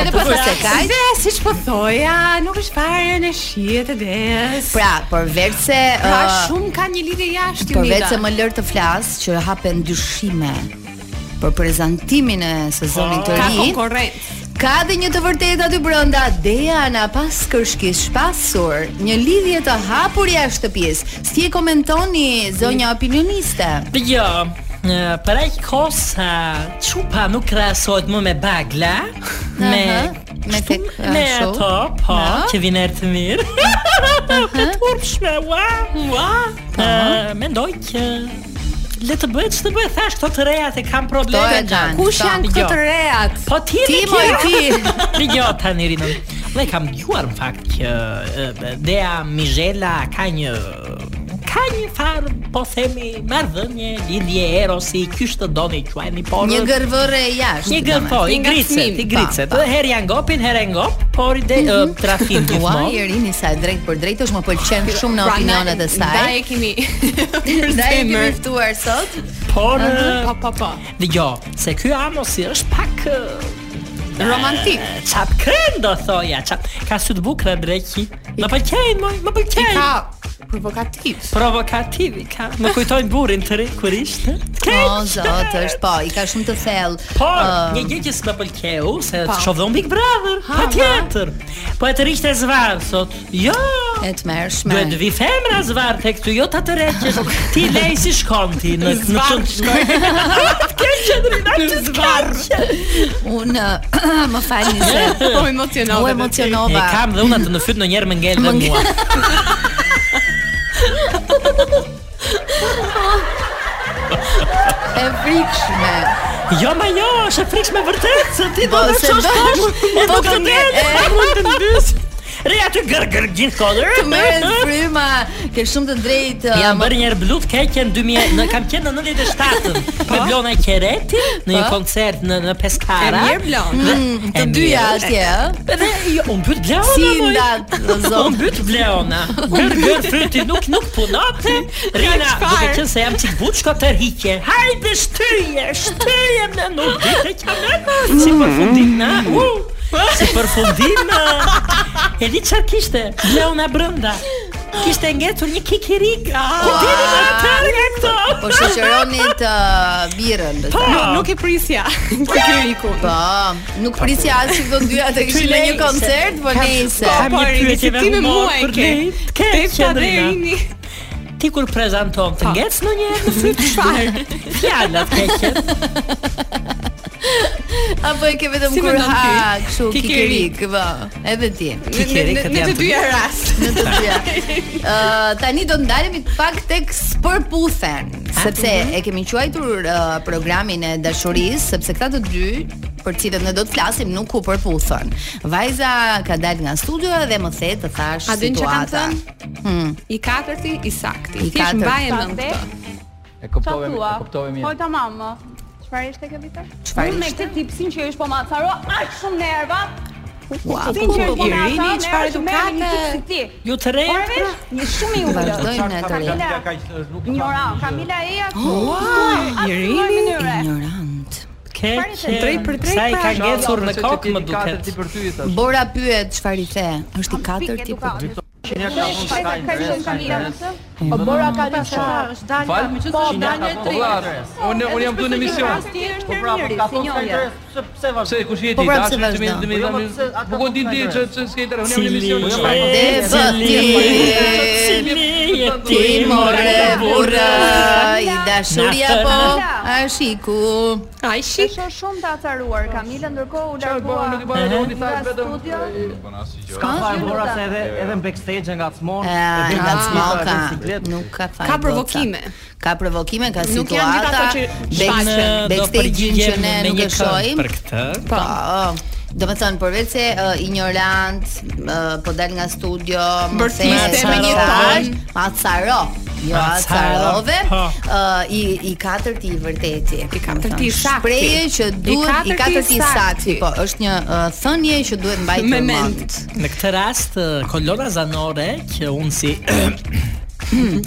Edhe pas se kaj. Po, Dhe siç po thoja, nuk është fare në shihet e des. Pra, përveç se Pra ë, shumë ka një lidhje jashtë Përveç se më lër të flas që hapen dyshime për prezantimin e sezonit të Ka ri. konkurrencë. Ka dhe një të vërtetë aty brenda. Deana pas kërshkish pasur, një lidhje të hapur jashtë shtëpisë. Si e komentoni zonja opinioniste? Jo, Ë, për aq kohë sa çupa nuk krahasohet më me bagla, me me tek uh, me ato, po, që vinë erë të mirë. të turpshme, ua, ua. Po. Ë, Mendoj që le të bëhet ç'të bëhet, thash këto të rejat e kanë Këto probleme. e kanë, Kush këto. janë këto të rejat? Po ti Ti, dhe moj, Kira. Dëgjoj tani Rinën. Dhe kam dëgjuar në fakt që ë, Dea Mizhela ka një ka një farë, po themi, marrëdhënie, lidhje erosi, kyç të doni quajeni por Një gërvërre e jashtë. Një gërë, po, i gricet, i gricet. Dhe herë janë ngopin, herë janë ngop, por i de Mhm. ë, trafin Ua, gjithmonë. Irini sa e drejt për drejt është më pëlqen shumë Pra, në na- opinionet e saj. na e kemi Da e kemi zemër. ftuar sot. Por, Aha. ë, Po, po. Dëgjo, se ky Amosi është pak ë, Romantik. e, Çap kren do thoja, çap. Ka sy të bukura dreki. Më pëlqejnë, moj, më pëlqejnë. Ka provokativ. Provokativ i ka. Më kujtojnë burrin të ri kur ishte. O zot, është po, i ka shumë të thellë. Por, Ëm, një gjë që s'më pëlqeu, se Po. shoh dhon Big Brother, Ha, patjetër. Po e të rishte zvarr sot. Jo. E të mërshme. Duhet vi femra zvarr tek ty, jo ta të rreqesh. Ti lej si shkon ti në në Zvarr çon shkoj. Ke qendrin atë zvarr. Unë më falni se Po, emocionova. U E emocionova. kam dhe unë atë në fyt në njerë më ngel dhe mua. E frikshme. Jo, ma jo, është e frikshme vërtet, se ti do Po, të se çosh do- tash. po, E do të të ngel, ngel, e. mund të ndys. Re aty gër gër gjithkohë. Të merren fryma, ke shumë të drejtë. ë, Jam më- bërë njërë blut keqe në 2000, në kam qenë në 97-ën. Për Blona Qereti në një Po. koncert në në Peskara. E mirë Blon. Mm, të dyja atje, ë? Edhe jo, unë byt Bleona. Si moj. ndat, o zot. Unë byt Bleona. Gër gër fryti nuk nuk punate. Rina, çfarë? duke qenë se jam çik buçka tërhiqe. Hajde shtyje, shtyje më nuk ditë që më. Si Mm-hmm. përfundim na. U. Si përfundim na. E di çfarë kishte? Bleona brenda. Kishte ngecur një kikirik. Ku dini më tërë nga këto? Po shoqëroni të birën. Po, nuk e prisja. Kikiriku. Po, nuk prisja as që këto dyja të kishin në një Nejse. koncert, po Kam- nejse. kam një pyetje me humor për ne. Ke Tepsa qendrina. dhe Rini. Ti kur prezanton të ngec në një në fytyrë çfarë? Fjalat keqe. Apo e ke vetëm Si kur mendon ti? ha kështu Kikirik. kikirik, po. Edhe ti. Kikirik, Në- në- në- në të dyja rast. Në të dyja. Ë, tani do ndalemi pak tek spërputhen, sepse e kemi quajtur ë, programin e dashurisë, sepse këta të dy për cilët ne do të flasim nuk u përputhen. Vajza ka dalë nga studio dhe më the të thash A din që kam situata. Hmm. I katërti i sakti. I I katërti. katërt. mbaje mend Sakti. këtë. E Qa kuptove, thua? e kuptove Po mirë. ta mamë. Çfarë ishte kjo Vitor? Çfarë Unë me ishte? këtë tipsin që është po macaro, aq shumë nerva. Ua, Tipsin që ku, është po Irini, macaro, nerva çfarë që merr një tip edukate? si ti. Ju të re. Ore, vesh, një shumë i ullë. Vazhdojmë ne të re. Njora, Kamila e ja. Ua, Irini, Keqe. Drejt për drejt, Sa i ka pra. ngecur Inshallah, në mos e kokë qeti më duket. Bora pyet çfarë i the. Është i katërt i po dy. Po, O Bora ka Pa, një pa, është dalë Fal? ka me Po, qëtë që dalë dalë e e tretë. Unë unë jam këtu në emision. Po bravo, ka thonë ka interes, pse vazhdo? Pse kush je Po ti? pra, Dashur pse të më vazhdo? të më Po jo, dhënë. pse- ata Po ku ti nuk ti kanë që që s'ke interes, unë jam në Cili emision. po je? jam- Devotje, ti more burra, i dashuria Na po, thënë. a shiku. Ai shik. Është shumë të acaruar Kamila, ndërkohë u largua. nuk i bëra dot, i tha nga vetëm- studio. Ka S'ka fare asgjë bora nuk se ka. edhe edhe në backstage nga cmon. Ah, edhe nga nga cmoka. biciklet. Nuk ka fare. Ka goca. provokime. Ka provokime, ka Nuk janë ditë ato situata. që back- shfaqen. Backstage-in që ne Me nuk një e këngë shohim. për këtë. Po. Do me thënë, përveç se uh, ignorant, uh, po del nga studio, më Bërtiste the, me një macar, ton. Macaro. Jo, acarove. Po. Ë i i katërt i vërteti. I katërti i sakti. Shprehje që duhet i katërti i sakti, sakti. po, është një ë, thënie që duhet mbajtur mend. Në këtë rast eh, kolona zanore që unë si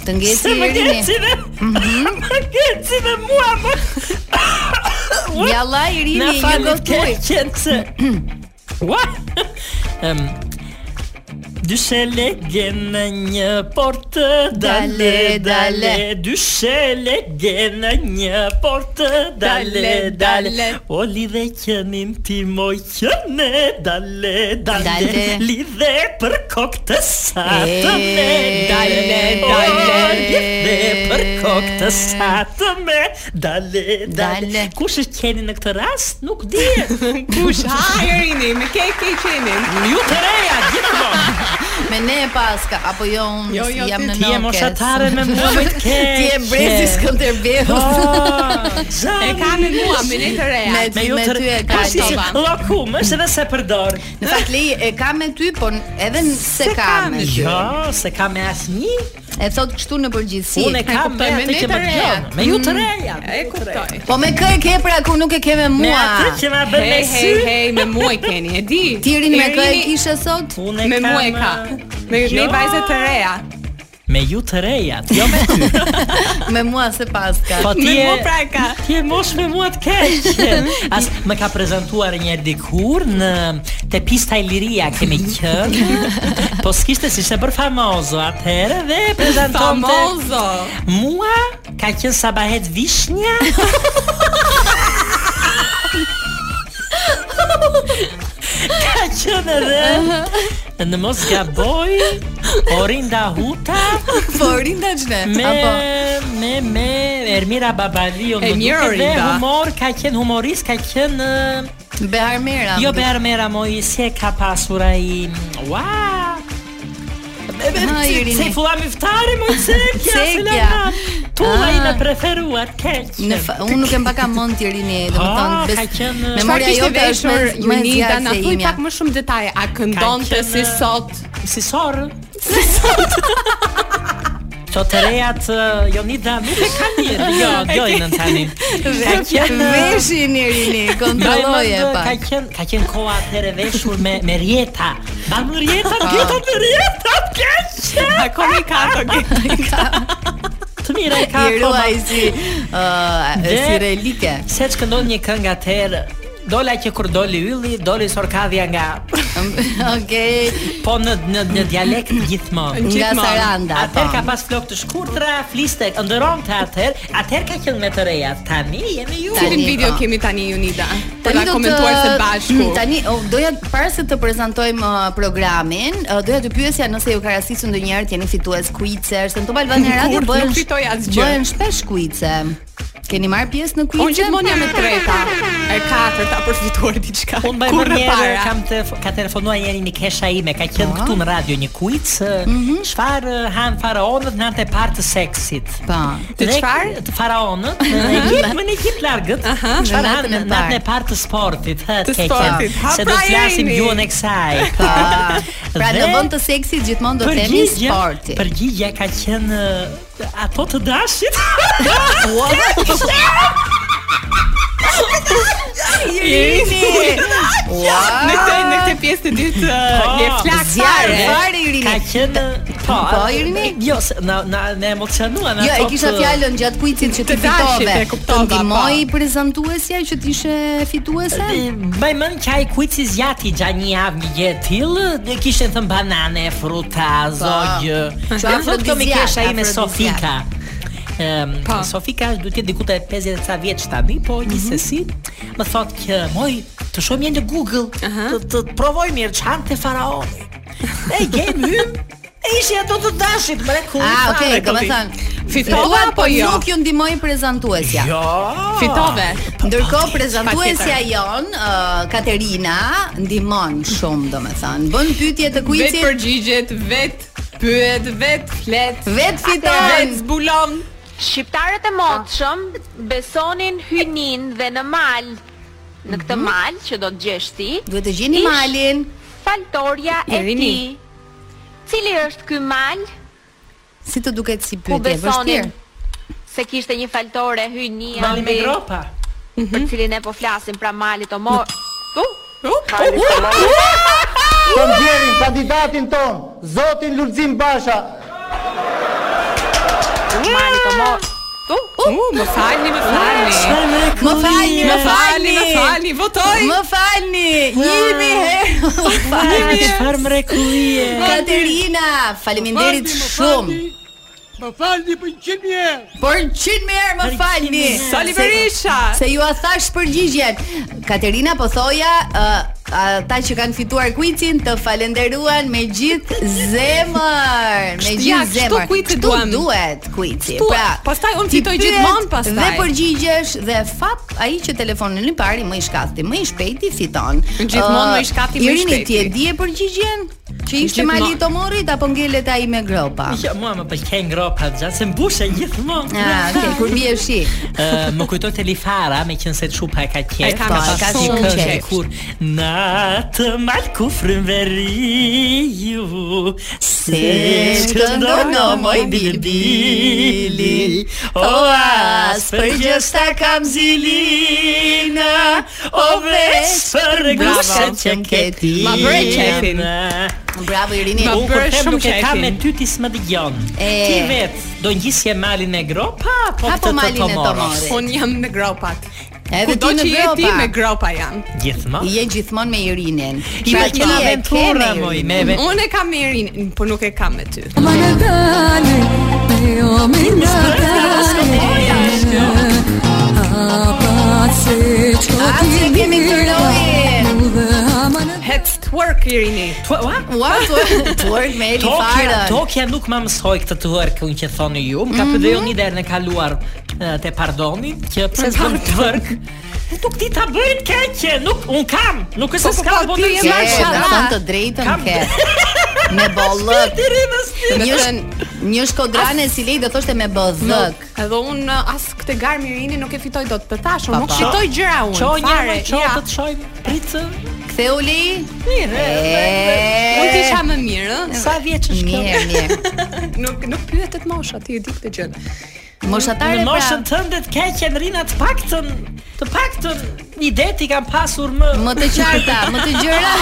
Të ngeci Se më Irini. ngeci Mhm. Më ngeci me mua më Ja la Irini, Na një falit gotuj. keqen se Ua Em, Dyshele gjenë një portë Dale, Dale, dale dale. Dyshele gjenë një portë Dale, Dale, dale dale. O lidhe qënin ti moj qëne Dale, dale Dale. Lidhe për kokë të satëme E, Dale, dale dale. O lidhe për kokë të satëme Dale, dale Kush është qeni në këtë rast? Nuk di Kush? Ha, Irini, me ke ke qenin. Ju të reja, gjithmonë. Me ne e paska apo jo unë Jo, jo, jam ti- në ti je nokes. moshatare me mua me të keqe. Ti je brezi Po, Skënderbeut. E ka me mua, me ne të reja. Me ty, me ty e Po, ka. llokum, është edhe se përdor. Në fakt Lei e ka me ty, po edhe n- se ka me ty. Jo, se ka me asnjë. E thot kështu në përgjithësi. Unë e kam me atë që më dëgjon. Me ju Mm. të reja. E kuptoj. Po me kë e ke pra ku nuk e ke me mua. Me atë që ma bën me Hej, sy. hej, hej, me mua e keni, e di. Ti rini me kë e Irini- kishe sot? Unë Me mua e Jo. ka. Me ne vajzat të reja. jo. Me ju të reja, jo me ty. Me mua se paska. Po ti je ka. Ti je mosh me mua të keq. As më ka prezantuar një herë dikur në te pista e Liria kemi qenë. Po s'kishte si se bër famoso atëherë dhe e prezantonte Famoso. Mua ka qenë Sabahet Vishnja. ka qenë edhe në mos gaboj Orinda Huta Po Orinda çne? me Apo me me Ermira Babaliu E mirë, Orinda. humor ka qenë humorist ka qenë Behar Mera. jo Bermera moj si e ka pasur ai ua Ha, Irini. Se fulla miftare më cekja se Cekja. lana Tulla Ah. ime preferuar keq Në fa, unë nuk e mbaka mend ti rini, Ah, domethënë ka qenë- Çfarë memoria kishte jote është veshur më- më e Unida, zjarrt na se thuj imja. pak më shumë detaje. A këndonte qenë- si sot? Si sor? Qo të rejat eh, Jonida nuk e ka mirë Jo, dojnë në tani Ka qenë Veshin i rini, kontrolloje Dojnë, Ka pak. qenë ka qenë koha atëherë e veshur me me rjeta. Ban me rjeta, Ah. rjeta me rjeta, keq. Akoma ka ato Të mira e ka I ruaj si ë si relike. Se të këndon një këngë atëherë, dola që kur doli ylli, doli sorkadhja nga Okej. Po në në në dialekt gjithmonë. Nga Gjithmonë. Saranda, Atëherë po. ka pas flokë të shkurtra, fliste, ndëronte atëherë, atëherë ka qenë me të reja. Tani jemi ju. Cilin po. po. video kemi tani Unida? Për ta komentuar së bashku. Mm, Tani oh, doja para se të prezantojmë uh, programin, uh, doja të pyesja nëse ju ka rastisur ndonjëherë të jeni fitues kuice, se në Top Albania Radio Kur bëhen nuk fitoj asgjë. Bëhen shpesh kuice. Keni marrë pjesë në kuice? Unë gjithmonë jam e treta, e katërta për të fituar diçka. Unë bëj më Kurrë herë para. kam të ka telefonuar një herë një kesha ime, ka Ah. qenë këtu në radio një quiz, Mhm, çfarë han faraonët në antë e parë të seksit. Po. Të çfarë? Të faraonët në Egjipt, më në Egjipt largët. në Çfarë han natën e në natën e parë. parë të sportit, hë, Të keqen. sportit, ha, Se do pra të flasim jeni. gjuhën e kësaj. Pa. Pra Dhe në vend të seksit gjithmonë do themi përgjigja- sporti. Përgjigja ka qenë eh, ato të dashit. Irini. Në këtë në këtë pjesë të dytë Po, je flak zjarë, fare. fare, Irini. Ka qenë po. Po, Irini? Jo, se na na ne emocionuan Jo, e ato kisha të- fjalën gjatë kuicit që ti Të dashit, fitove. e kuptova, Të ndihmoi prezantuesja që ti ishe fituese? Mbaj mend që ai kuici zjati gja një javë një gjë e tillë, ne kishin thënë banane, fruta, po. zogjë. Që Ja thotë këto mi afrodizjak, kesha ime afrodizjak. Sofika. Ehm, Po. Sofika duhet të jetë diku te 50 e ca vjeç tani, po Mhm. gjithsesi më thotë që moj të shohim një në Google, të, të provoj mirë çan te faraoni. E gjem hym. E ishi ato të dashit mrekulli. Ah, fare, okay, kolli. domethënë Fitova Fitova apo jo? Nuk ju ndihmoi prezantuesja. Jo. Fitove. Ndërkohë prezantuesja jon, uh, Katerina, ndihmon shumë domethënë. Bën pyetje të Vet kuicit, përgjigjet, vet pyet, vet flet. vet Vet fiton. zbulon. Shqiptarët e motshëm besonin hynin dhe në mal. Në këtë mal që do të gjesh ti, Duhet të gjeni ish malin. faltorja e Irini. ti. Cili është ky mal? Si të duket si Ku pyetje, besonin vështirë. se kishte një faltore hynia Mali me gropa. Mhm. Për cilin e po flasim pra malit o mor. U! U! Të ndjerin kandidatin ton, Zotin Lulzim Basha. Mali të mor. U, u, më falni, më falni. Më falni, më falni, më falni, votoj. Më falni, jemi herë. Më falni. Çfarë mrekullie. Katerina, faleminderit Më falni, më shumë. falni. Më falni për 100 herë. Për 100 herë më falni. Sali Berisha. Se, se ju a thash përgjigjen. Katerina po thoja uh, ata që kanë fituar kuicin të falenderuan me gjithë zemër, me Ja, gjithë kështu zemër. kuici Kështu duam. duhet kuici. Kështu, Pra, pastaj unë ti fitoj pyet gjithmonë pastaj. Dhe përgjigjesh dhe fap ai që telefonin i parë, i më i shkati, më i shpejti fiton. Gjithmonë Ë, më i shkati, më i Irini, ti e shpejti. di e përgjigjen? Që ishte Gjithmonë. mali i Tomorit apo ngelet ai me gropa? Jo, mua më pëlqen gropa, gjatë se mbushen gjithmonë. Ah, okay, kur bie shi. Ë, më kujtohet Elifara, me qenë se çupa e ka qef. E ka, po, e ka si shumë këngë qef. Kur në të malë ku frymveri ju, se shkëndono moj bilbili, o as për gjësta kam zilina, o veç për gushën që këti. Ma bëre qefin. Bravo Irini. Unë kur them nuk e kam me ty ti s'më dëgjon. E. Ti vet do ngjisje malin e gropa apo po Apo këtë të malin e tomorës? Tomorit. Unë jam me gropat. Edhe Kudo ti me që je ti gropa. me gropa jam. Gjithmonë. Je gjithmonë me Irinin. Jo, I Pra, Mm. pëlqen ti e ke me aventura Irinin. moj me Unë e kam me Irin, po nuk e kam me ty. Atje kemi këroin. Heads twerk Irini. Ua, twerk- twerk me Eli Tokja, Farën. Tokja nuk më mësoj këtë të huar që unë që thoni ju. Më ka mm -hmm. përdheu një derë në kaluar e, te pardoni që pse s'bën të vërk. Nuk di ta bëj të keqe, nuk un kam, nuk është se s'kam po të Ke, do thon të drejtën ke. Me bollëk. Një sh- një shkodrane si lej do thoshte me bollëk. Nuk, edhe unë as këtë garë Mirini nuk e fitoj dot të tash, unë nuk Pa, pa. fitoj gjëra unë. Qo një, fare, qo ja. të çoj pritë. Ktheu lej. Mirë. E. Unë ti isha më mirë, ë? Sa vjeç është kjo? Mirë, mirë. nuk nuk pyetet mosha, ti e di këtë gjë. Moshatare pra. Në moshën tënde të keqe në rina të paktën, të paktën një deti kam pasur më Më të qarta, më të gjëra.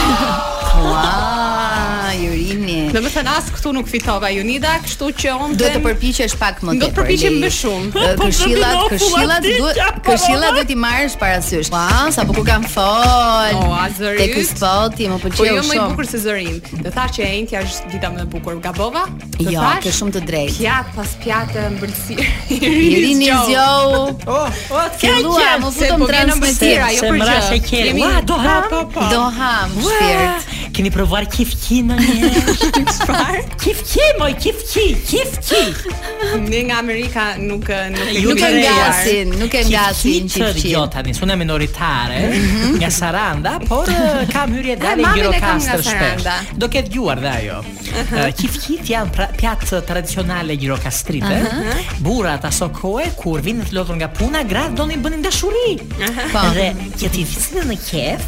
Ua, Jurini. Do të thënë as këtu nuk fitova Junida, kështu që unë Do të përpiqesh pak më tepër. Do të përpiqem Lej. më shumë. Ë, Po, Këshillat, po, këshillat po, duhet, po, po, këshillat po. duhet i marrësh parasysh. Ua, sa po ku kam fol. Ua, zërit. Tek spoti, më pëlqeu Po shumë. jo më i bukur se zërin. Do thash që e Entja është dita më e bukur. Gabova? Do Jo, thash? ke shumë të drejtë. Pjatë pas pjatë mbërësirë. Irini zgjohu. Oh, oh, Fillua, më po futëm transmetim. jo për gjë. mrashe qe. Jemi- Ua, do Pa, ham. pa, pa. Do ham, po. Ua, shpirt. Keni provuar kifqi në një? Çfarë? Kifqi, moj, kifqi, kifqi. Ne nga Amerika nuk nuk Ju Nuk e mirë. ngasin, nuk e ngasin Kifqi të qifqin. rigjota një, sune minoritare, nga Saranda, por eh, kam hyrje dalë në Mhm. mamin e kam nga Gjirokastër shpesh. Saranda. Do ketë gjuar dhe ajo. Eh, Kifqit janë pra- pjatë tradicionale Gjirokastrite. Aha. Burat aso kohë, kur vinë të lodhur nga puna, gratë donin bënin dashuri. Po. Dhe që ti fisinë në qef,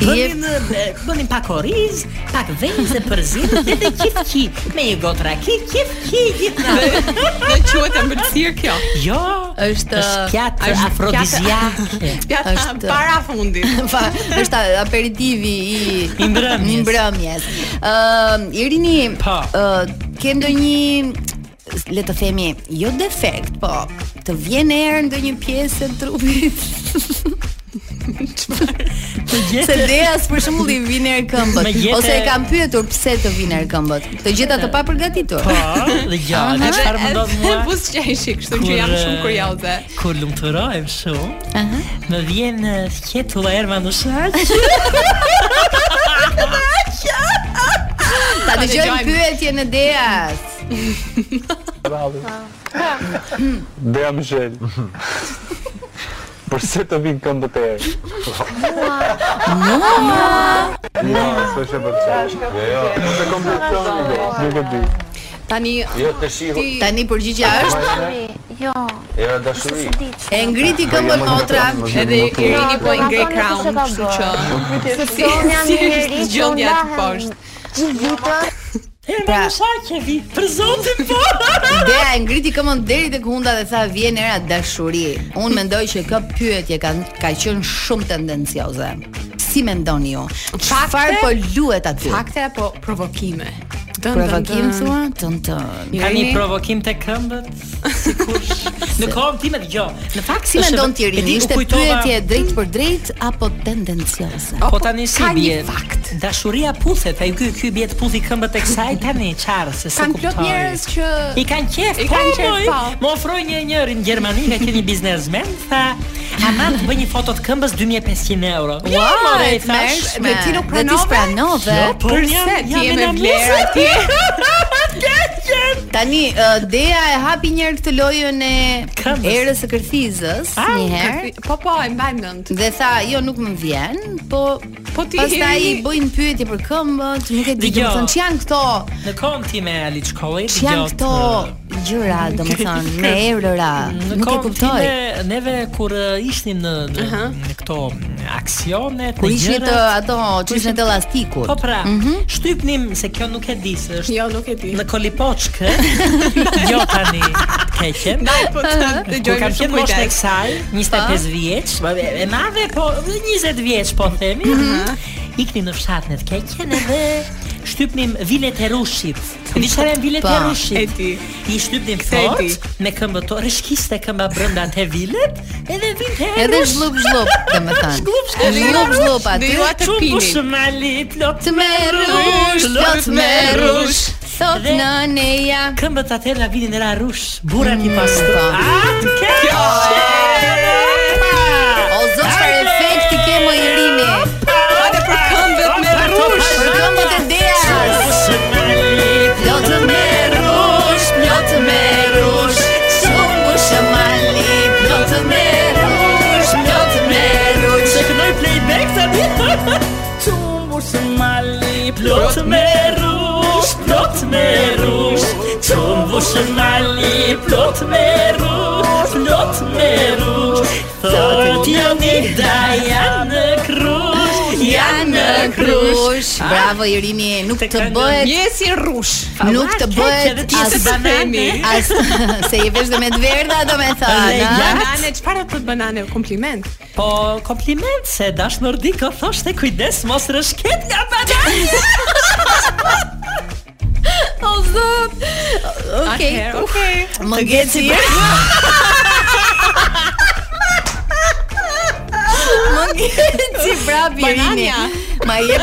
Jep. Bënin, eh, bënin pak oriz, pak vezë për zinë, dhe dhe kifqi, me një gotë raki, kifqi, gjithë Dhe dhe quhet ëmbëlsirë kjo. Jo, Është është pjatë afrodiziake. Pjatë Është- para fundit. Pa, është aperitivi i I mbrëmjes. i mbrëmjes. Ëm Irini, Po. ë, ke ndonjë le të themi, jo defekt, po të vjen erë ndonjë pjesë e trupit. Se deas për shembull i vjen erë këmbët Me gjete- ose e kam pyetur pse të vjen erë këmbët. Të gjeta të papërgatitur. Po, dhe gjatë, Aha. çfarë më ndodh mua? Buzqeshi, kështu që jam shumë kurioze. Kur lumturohem shumë, më vjen eh, fjetulla erma në shaq. Ta Ta dëgjojmë dëgjojmë. pyetjen e deas. Dea Michel. Përse të vinë këmbët e erë? Mua. Jo, së shë përqesh. Jo, të kompleksion i do, nuk e di. Tani Jo, të shihu. ti- Tani përgjigjja është Jo. Jo, dashuri. E ngriti këmbën motra Edhe Irini po i ngrej kraun, kështu që Se si jam një si është njerëz që gjendja aty ndahem poshtë. Gjithë ditën Herë më sa që vi. Për zotin po. Dea e ngriti këmën deri tek hunda dhe tha vjen era dashuri. Unë mendoj që kjo pyetje ka ka qenë shumë tendencioze. Si mendoni ju? Çfarë po luhet aty? Fakte apo provokime? Dën, dën, Provokim dën. thua? Tën tën. Ka një provokim të këmbët Sikur Në kohën time dëgjoj. Në fakt Si është- mendon ti e di, rini? u Ishte kujtova- pyetje drejt për drejt apo tendencioze? Po tani si bie? Fakt. Dashuria puthet, ai ky ky bie të puthi këmbët e kësaj tani çfarë se s'e Kanë kuptoj. plot njerëz që I kanë qef, I po, kanë qef, moj. po. Më ofroi një njëri në Gjermani, ka qenë një biznesmen, tha, ama të bëj një foto të këmbës 2500 euro. Wow, Ja, more, e i thash, tmerrshme. Dhe ti pranove? pranove? Jo, po, Përse jam- ti jam je e me vlerë namusit. atje? Tani ë, Dea e hapi një herë këtë lojën e erës së kërthizës, Ah, një herë. kërthi- Po po, e mbaj mend. Dhe tha, jo nuk më vjen, po Po ti pastaj i heri- bëjnë pyetje për këmbët, nuk e di, Dëgjo. domethënë që janë këto, Në kohën time e Ali Shkolli, që janë këto gjëra, domethënë me erëra, Në nuk e kohën kuptoj. time, neve kur e, ishnim në, në, në këto aksionet, Kur në ishin gjërat- të ato çishën të elastikut. Po pra, shtypnim se kjo nuk e di se është. Jo, nuk e di. Në kolipoçkë. jo tani. Keqen. Ndaj, po, të- të Kur gjojmë kam shumë qenë moshën e kujdes. kësaj, 25 vjeç, po, e e madhe po 20 vjeç po themi. Iknim në fshatën e të keqen edhe shtypnim vilet e rushit. E di çfarë janë vilet Po, e rushit? e di. I shtypnim Kthe e di. fort me këmbët, to- rishkiste këmba brenda te vilet, edhe vinte e Edhe rush. zhlup zhlup, domethënë. Zhlup zhlup. Zhlup zhlup aty. Shumë bushmali, plot me rush, plot me rush. Sot Dhe- në neja Këmbët atë na vinin era rush, burrat Mm, i po. pastër. Ah, ke. O zot çfarë efekti ke më i rini. Hajde për këmbët me rush. Për këmbët e deas. Plot me rush, plot me rush. Shumë bushmali, plot me rush, plot me rush. Se kënoj playback tani. Çumbur se mali, plot me rush, plot me rush. Çumbur se mali, plot me rush, plot me rush. Thot jam i daja në krush, Janë në krush. Bravo Irini, nuk të bëhet. Je si rrush. Nuk edhe të bëhet ti je as si banani. As se i vesh dhe me të verdha domethënë. a? Banane, çfarë do të banane? Kompliment. Po, kompliment se dashnë Nordiko thoshte kujdes mos rëshket nga banani. O zot. Okej. Atëherë, okej. Më ngeci. Më ngeci prap Irini. Banania. Ma jep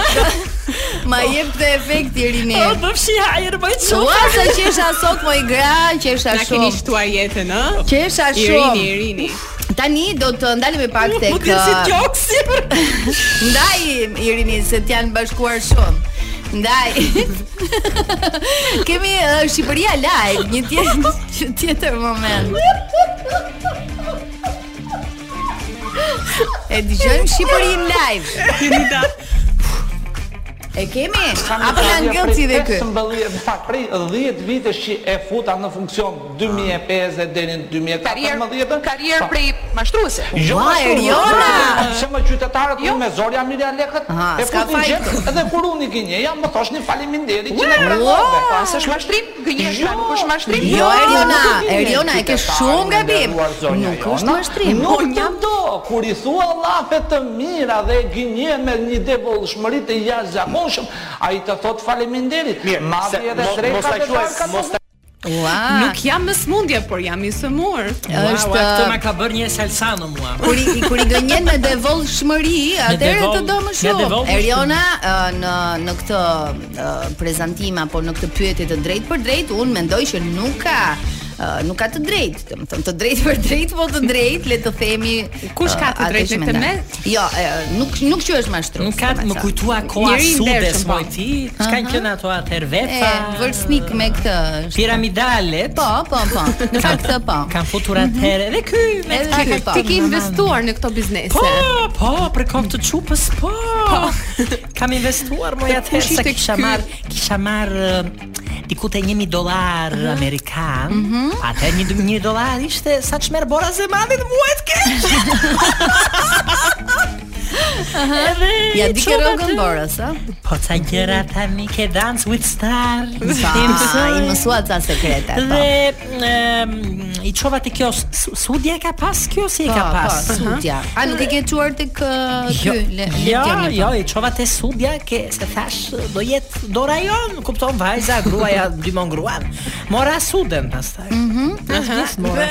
Ma jep të efekt Irini. O, bëfshi hajër, bëj çu. çufa. Ua sa qesha sot moj gra, qesha Na keni shumë. shtuar jetën, ë? Qesha shumë. Irini, Irini. Tani do të ndalemi pak tek. Mund të jetë si uh, gjoksi. Ndaj Irini se të janë bashkuar shumë. Ndaj. Kemi uh, Shqipëria live, një tjetër një tjetër moment. E dëgjojmë Shqipërinë live. Unida. E kemi? Apo na ngëci dhe ky? 15, në fakt prej 10 vitesh që e futa në funksion Ah. 2005 deri në 2014. Karrierë Karrierë prej mashtruese. Jo, Ua, ashtu, Eriona! Se më qytetarët jo. me zor jam mirë lekët. Aha, E s'ka futin fajt. gjep edhe kur unë i gënje jam më thoshni faleminderit që na Ua, pranove. po, as është mashtrim, gënjesh, pra, nuk është mashtrim. Jo, Eriona, nuk gënjen Eriona e ke qytetarë, shumë gabim. nderuar zonja Nuk Jona. është mashtrim. Nuk Unë të do kur i thua llafe të mira dhe e gënje me një devollshmëri të jashtëzakonshëm, ai të thot faleminderit. Madje se edhe mo- drejta mos ta të quaj, darkat mos të Ua. Ah. Nuk jam në smundje, por jam i sëmur. uh, Është këtë ma ka bërë një salsano mua. Kur i kur i gënjen me devollshmëri, atëherë devoll- të do më me shumë. devollshmëri. Eriona ë, në në këtë ë, prezantim apo në këtë pyetje të drejtë për drejtë, unë mendoj që nuk ka ë, nuk ka të drejtë, do të thënë të drejtë për drejtë, po të drejtë, le të themi Kush ë, ka të atë drejtë që në këtë mendoj. Jo, ë, nuk nuk që është mashtrues. Nuk ka domethënë. më kujtua koha Njeri i sudes ndershëm, po. moj ti. Çka Aha. qenë ato E, atëherë vepa? vërsnik me këtë është. Piramidalet. Po, po, po. Në fakt po. Kan futur atëherë edhe ky me Edhe të ky, ky. po. Ti ke investuar në këto biznese. Po, po, për kohë të çupës, po. Kam investuar moj Të atëherë kush se ishte kisha ky? marr, kisha marr eh, diku te 1000 dollar Mhm. amerikan. Atë 1000 dollar ishte sa çmer bora zemanit muet keq. Edhe ja di ke rrogën borës, a? Po ca gjëra tani ke dance with star. Sa, Ti mësoj. i mësua ca sekrete, po. Dhe em, i çova te kjo su- sudja e ka pas kjo si e Po, ka po, pas. sudja. A nuk e ke çuar tek ë, ky Jo, le jo, letjani? jo, i çova te sudja ke se thash do jet dora jon, kupton vajza, gruaja dymon gruan. Mora suden pastaj. Mhm. Aha. Dhe-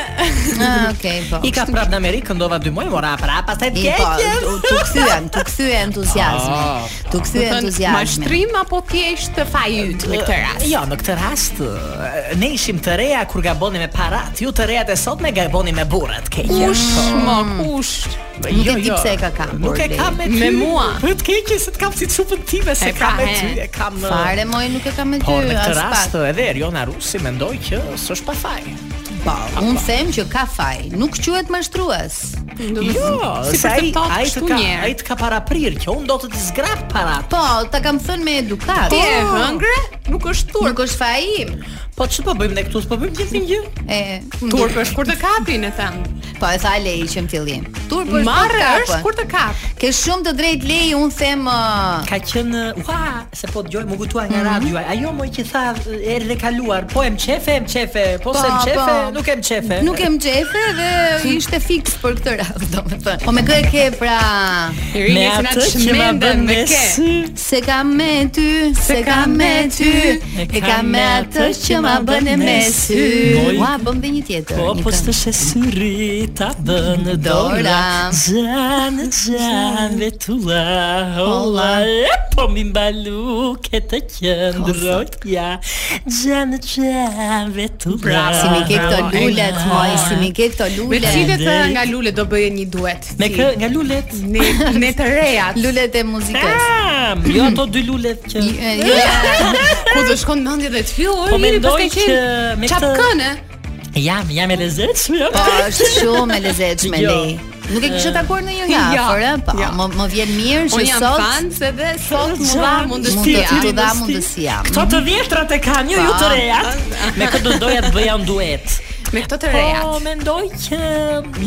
Ah, Okej, po. I ka prap në Amerikë, ndova dy muaj, mora prap, pastaj të I po, keqes. tu- tu kthyen, tu kthyen entuziazmi. Ah. Tu kthyen entuziazmi. mashtrim apo thjesht fajyt Në këtë rast. Jo, në këtë rast e, ne ishim të reja kur gaboni me parat, ju të rejat e sot me gaboni me burrat keq. Kush, mo, kush? Nuk e di pse e ka kam, Jo, Nuk e burri. kam me ty. Me mua. Po të keq se të kam si çupën time se E ka kam me he. ty, e kam. e, Fare moj nuk e kam me ty. Por Po, në këtë as pak. rast edhe Eriona Rusi mendoj që s'është pa faj. Po, unë them që ka faj, nuk quhet mashtrues. Jo, se ai ai të ka ai të ka para prir që unë do të të zgrap parat. Po, ta kam thënë me edukat. Ti e hëngre? Nuk është turp. Nuk është faj im. Po ç'të po bëjmë ne këtu, s'po bëjmë gjithë një gjë. E Turp është kur të kapin e them. Po e tha Lei që në fillim. Turp është Marrë është kur të kap. Ke shumë të drejtë Lei, unë them uh, ë, Ka qenë ua, se po dëgjoj më gujtua Mhm. nga radioja. Ajo më që tha erë dhe kaluar, po em çefe, em çefe, po se em Po, çefe, po. nuk em çefe. Nuk e mxefe dhe ishte fiks për këtë radhë, domethënë. Po me kë e ke pra? Irini, Me si na atë që ma çmenden bën me me ke. sy. Se kam me ty, se kam me ty, e kam me atë që ma bën e me sy. Moj. Ua, bëm dhe një tjetër. Po, një po këngë. s'të se syri ta bënë dora Dora. Gjanë, gjanë, tulla, holla E po mi mbalu këtë qëndrojt ja Gjanë, gjanë, vetulla Pra, Si mi ke këto lulet, moj, si mi ke këto Me lulet. cilët eh, nga lule do bëje një duet? Me kë, nga lulet? Ne ne të reja. Lulet e muzikës. Tam, jo ato dy lulet që jo. Ku do shkon mendja dhe të filloj? Po Lili, mendoj pastaj që me këtë- Çapkënë. Jam, jam e lezetshme. jam. Po, është shumë e lezetshme Jo. Lei. Nuk e kishe takuar në një nga Jo, afër, ë? po, më, më vjen mirë që Unë jam sot fan se dhe sot mu dha mundësia. Mund të dha mundësia. Këto të vjetrat e kanë, jo ju të rejat. Me këtë do doja të bëja unë duet. Me këto të reja. Po mendoj që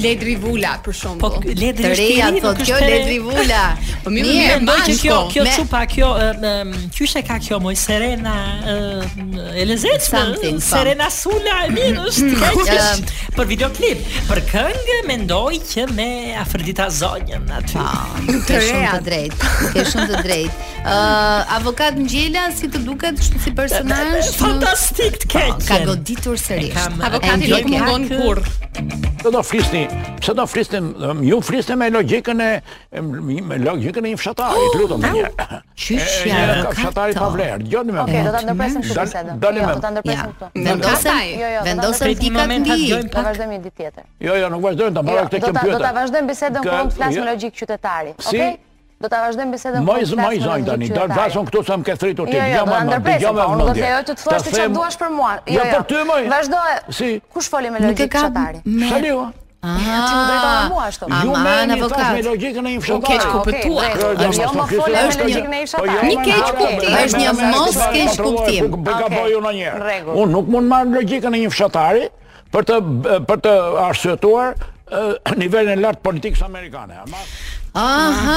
Ledri Vula për shembull. Po Ledri është i ri, nuk është e re. Po mirë, Mirë, mirë, mendoj që mashko. kjo kjo Me- çupa kjo ëm, ëm, qyshe ka kjo moj Serena ëm, e lezetshme. Something, ëm, Serena Sula e mirë është. ka që është Për videoklip, për këngë mendoj që me Afrodita Zonjën aty. Ke shumë të drejtë. Ke shumë të drejtë. Ë, avokat Ngjela si të duket kështu si personazh? Fantastik të keq. Ka goditur sërish. Avokati nuk mundon kurrë. Pse do flisni? Pse do flisni? Ëm, Ju flisni me logjikën e em, me logjikën e një Oh, fshatarit, lutem një. Qysh E, ja, një ka fshatari pa këto. vlerë. Dgjoni më. Okej, do ta ndërpresim shumë bisedën. Dali Jo, më. do ta ndërpresim këtu. Vendosem, Jo, jo, do ta vendosem ndërpresim. pikat Moment, mbi. vazhdojmë Do vazhdojmë një ditë tjetër. Jo, jo, nuk vazhdojmë ta Jo, marrë këtë do ta kompjuter. do ta vazhdojmë bisedën kur Ka- unë flas jo. me logjik qytetari, Si? okay? Do ta vazhdojmë bisedën kur Moj unë zmoj flas me zonj logjik tani, do të qytetari. flasim këtu sa më ke thritur ti. Jo, jo, do ta ndërpresim, po, unë do të joj të të thuash ti çfarë duash për mua. Jo, për ty moj. Vazhdo. Si? Kush foli me Nuk e logjik ka qytetari? me- Shaliu. Ah, ti më drejton me mua ashtu. Ju me një tash me logjikën e një fshatari. Keq kuptua. Jo, më fole Po, me logjikën e një jo, fshatari. Bë ka Okej, bojë unë një në herë. rregull. Unë nuk mund marr logjikën e një fshatari për të për të arsyetuar eh, nivelin e lartë politikës amerikane. Ama Aha,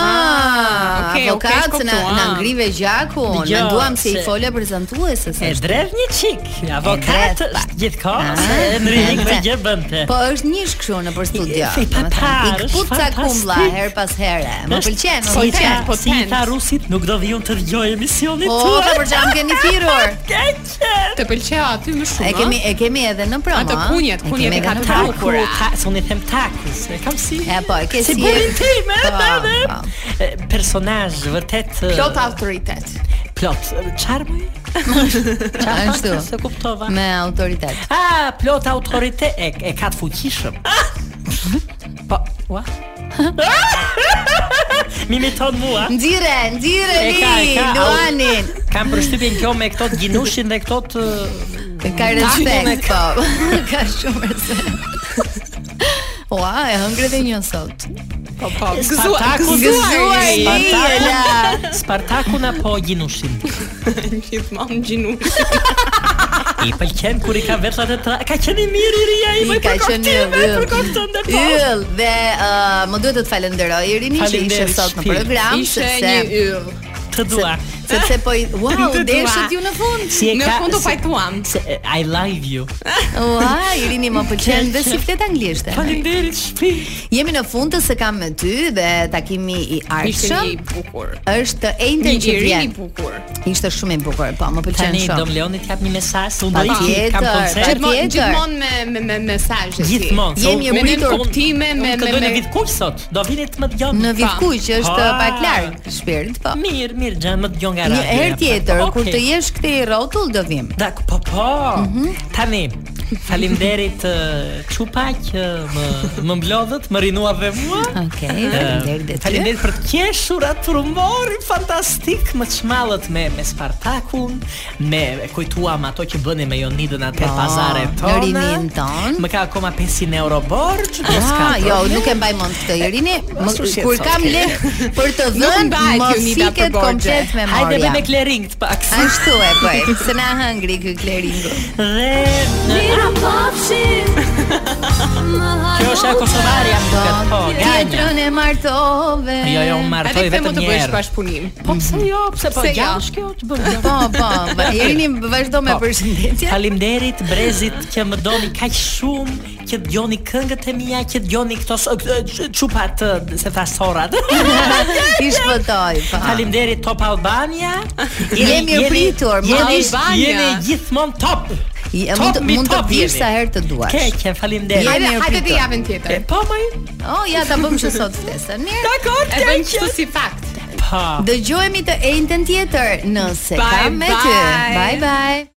Okej, okej, avokat se na, kuptua. na ngrive gjakun, Dgjoj, menduam se i se- fole prezantuesës. E drevë një qik, avokat është gjithkohë, se në rrinik me gjë bënte. Ah. Po është njësh kështu në për studio. I- i domethënë, papar, I kput ca është kumlla fantastik. her pas here. Më po, pëlqen, më Si i pëlqen. tha- Si i tha rusit, nuk do vion të dëgjoj emisionin Po, tuaj. po, për çfarë më keni thirrur? Të pëlqeu aty më shumë. ah. E kemi a? e kemi edhe në promo. Ato a? kunjet, E kunjet kemi edhe i ka në taku, promo. ta- se unë i them takus, e kam si. E po, e ke Si si. burin tim, e, Po, edhe. E, Personazh vërtet e, Plot autoritet. plot. Çfarë më? Çfarë Ashtu. ashtu? Se kuptova. Me autoritet. Ah, plot autoritet e, e ka të fuqishëm. Po, ua. Mimiton mua. Nxire, nxire E ka, e li, ka, au- Luanin. Kam përshtypjen kjo me këto të ginushin dhe këto të Ka Takin e respekt, ka. po. Ka shumë respekt. Ua, e hëngre dhe një sot. Po, po, Spartakun, gëzuar, po Spartakun, Spartakun apo Gjinushin? Gjithmonë gjinu. I pëlqen kur i ka versat e tra. Ka qenë i mirë i ri ai, I më ka për qenë koktive, yll. për kokton dhe po. Yll dhe ë, më duhet të të falenderoj Irini që ishe Faleminderit, sot në shpi. program Ishe sepse një uh, yll. Të dua. Se- Sepse po i wow, Të dua. deshët ju në fund. Si e në ka- fund u se- pajtuam. se- I love you. Ua, Irini më pëlqen dhe si flet anglishte. Faleminderit shpi. Jemi në fund të së kam me ty dhe takimi i Ishte ardhshëm një i bukur. është të Një njëjtën që i ri i vjen. bukur. Ishte shumë i bukur, po, më pëlqen Tani shumë. Dom Leonit jap një mesazh, se unë Pa do ikë, tjetër, kam koncert. Gjithmonë Tjetër. gjithmonë me me me mesazhe. si. Gjithmonë. se Jemi unë- unë- rritur unë- kuptime me Unë me këndoj me. në vit kuq sot. Do vini të më dëgjoni. Në Vitkuq që është Pa. pak larg shpirt, po. Mirë, mirë, Xhan, më dëgjon nga Një radioja, herë pra. tjetër, kur Okej. të Mhm. jesh këtej rrotull do vim. Da, po po. Tani, faleminderit ë, Çupa që më më mblodhët, më rinua dhe mua. Okej, Ë, faleminderit dhe ty. Faleminderit për të qeshur atë rumor fantastik, më çmallët me me Spartakun, me kujtuam ato që bënim me Jonidën atë Po, pazare në tona. rinin ton. Më ka akoma 500 euro borxh, po s'ka. Ah, jo, problem. nuk e mbaj mend këtë Irini. Më, Ashtu si e kur thot, kam okay. lehë për të Nuk dhënë, mbahet më Jonida për fiket borxhe. komplet me Hajde bëjmë marrja. me klering të pak. Ashtu e bëj, se na hëngri ky kleringu. Dhe Kjo është e Kosovarja më duket, po, ganja. Tjetrën e martove. Jo, jo, unë martoj Edhe pse vetëm mund të një bësh herë. bashkëpunim. Po pse Mhm. jo, pse po Pse jo? gjash kjo që bën. gjash? Po, po, va- Irini vazhdo me Po. përshëndetje. Faleminderit Brezit që më doni kaq shumë, që dëgjoni këngët e mia, që dëgjoni këto s- këtë ç- çupat ë, se tha sorat. I shpëtoj, po. Faleminderit Top Albania. Jemi e pritur, jeni- Top Albania. Jeni gjithmonë top. Je- Top Mund të- mi mund të top vish jeni. sa herë të duash. Ke, ke, faleminderit. Jemi e Hajde të pritur. javën tjetër. Po më. Oh, ja ta bëm që sot ftesën. Mirë. Dakor, E bëjmë Po kështu si fakt. Pa. Dëgjojemi të ejtën tjetër nëse Bye, kam me ty. bye. Bye bye.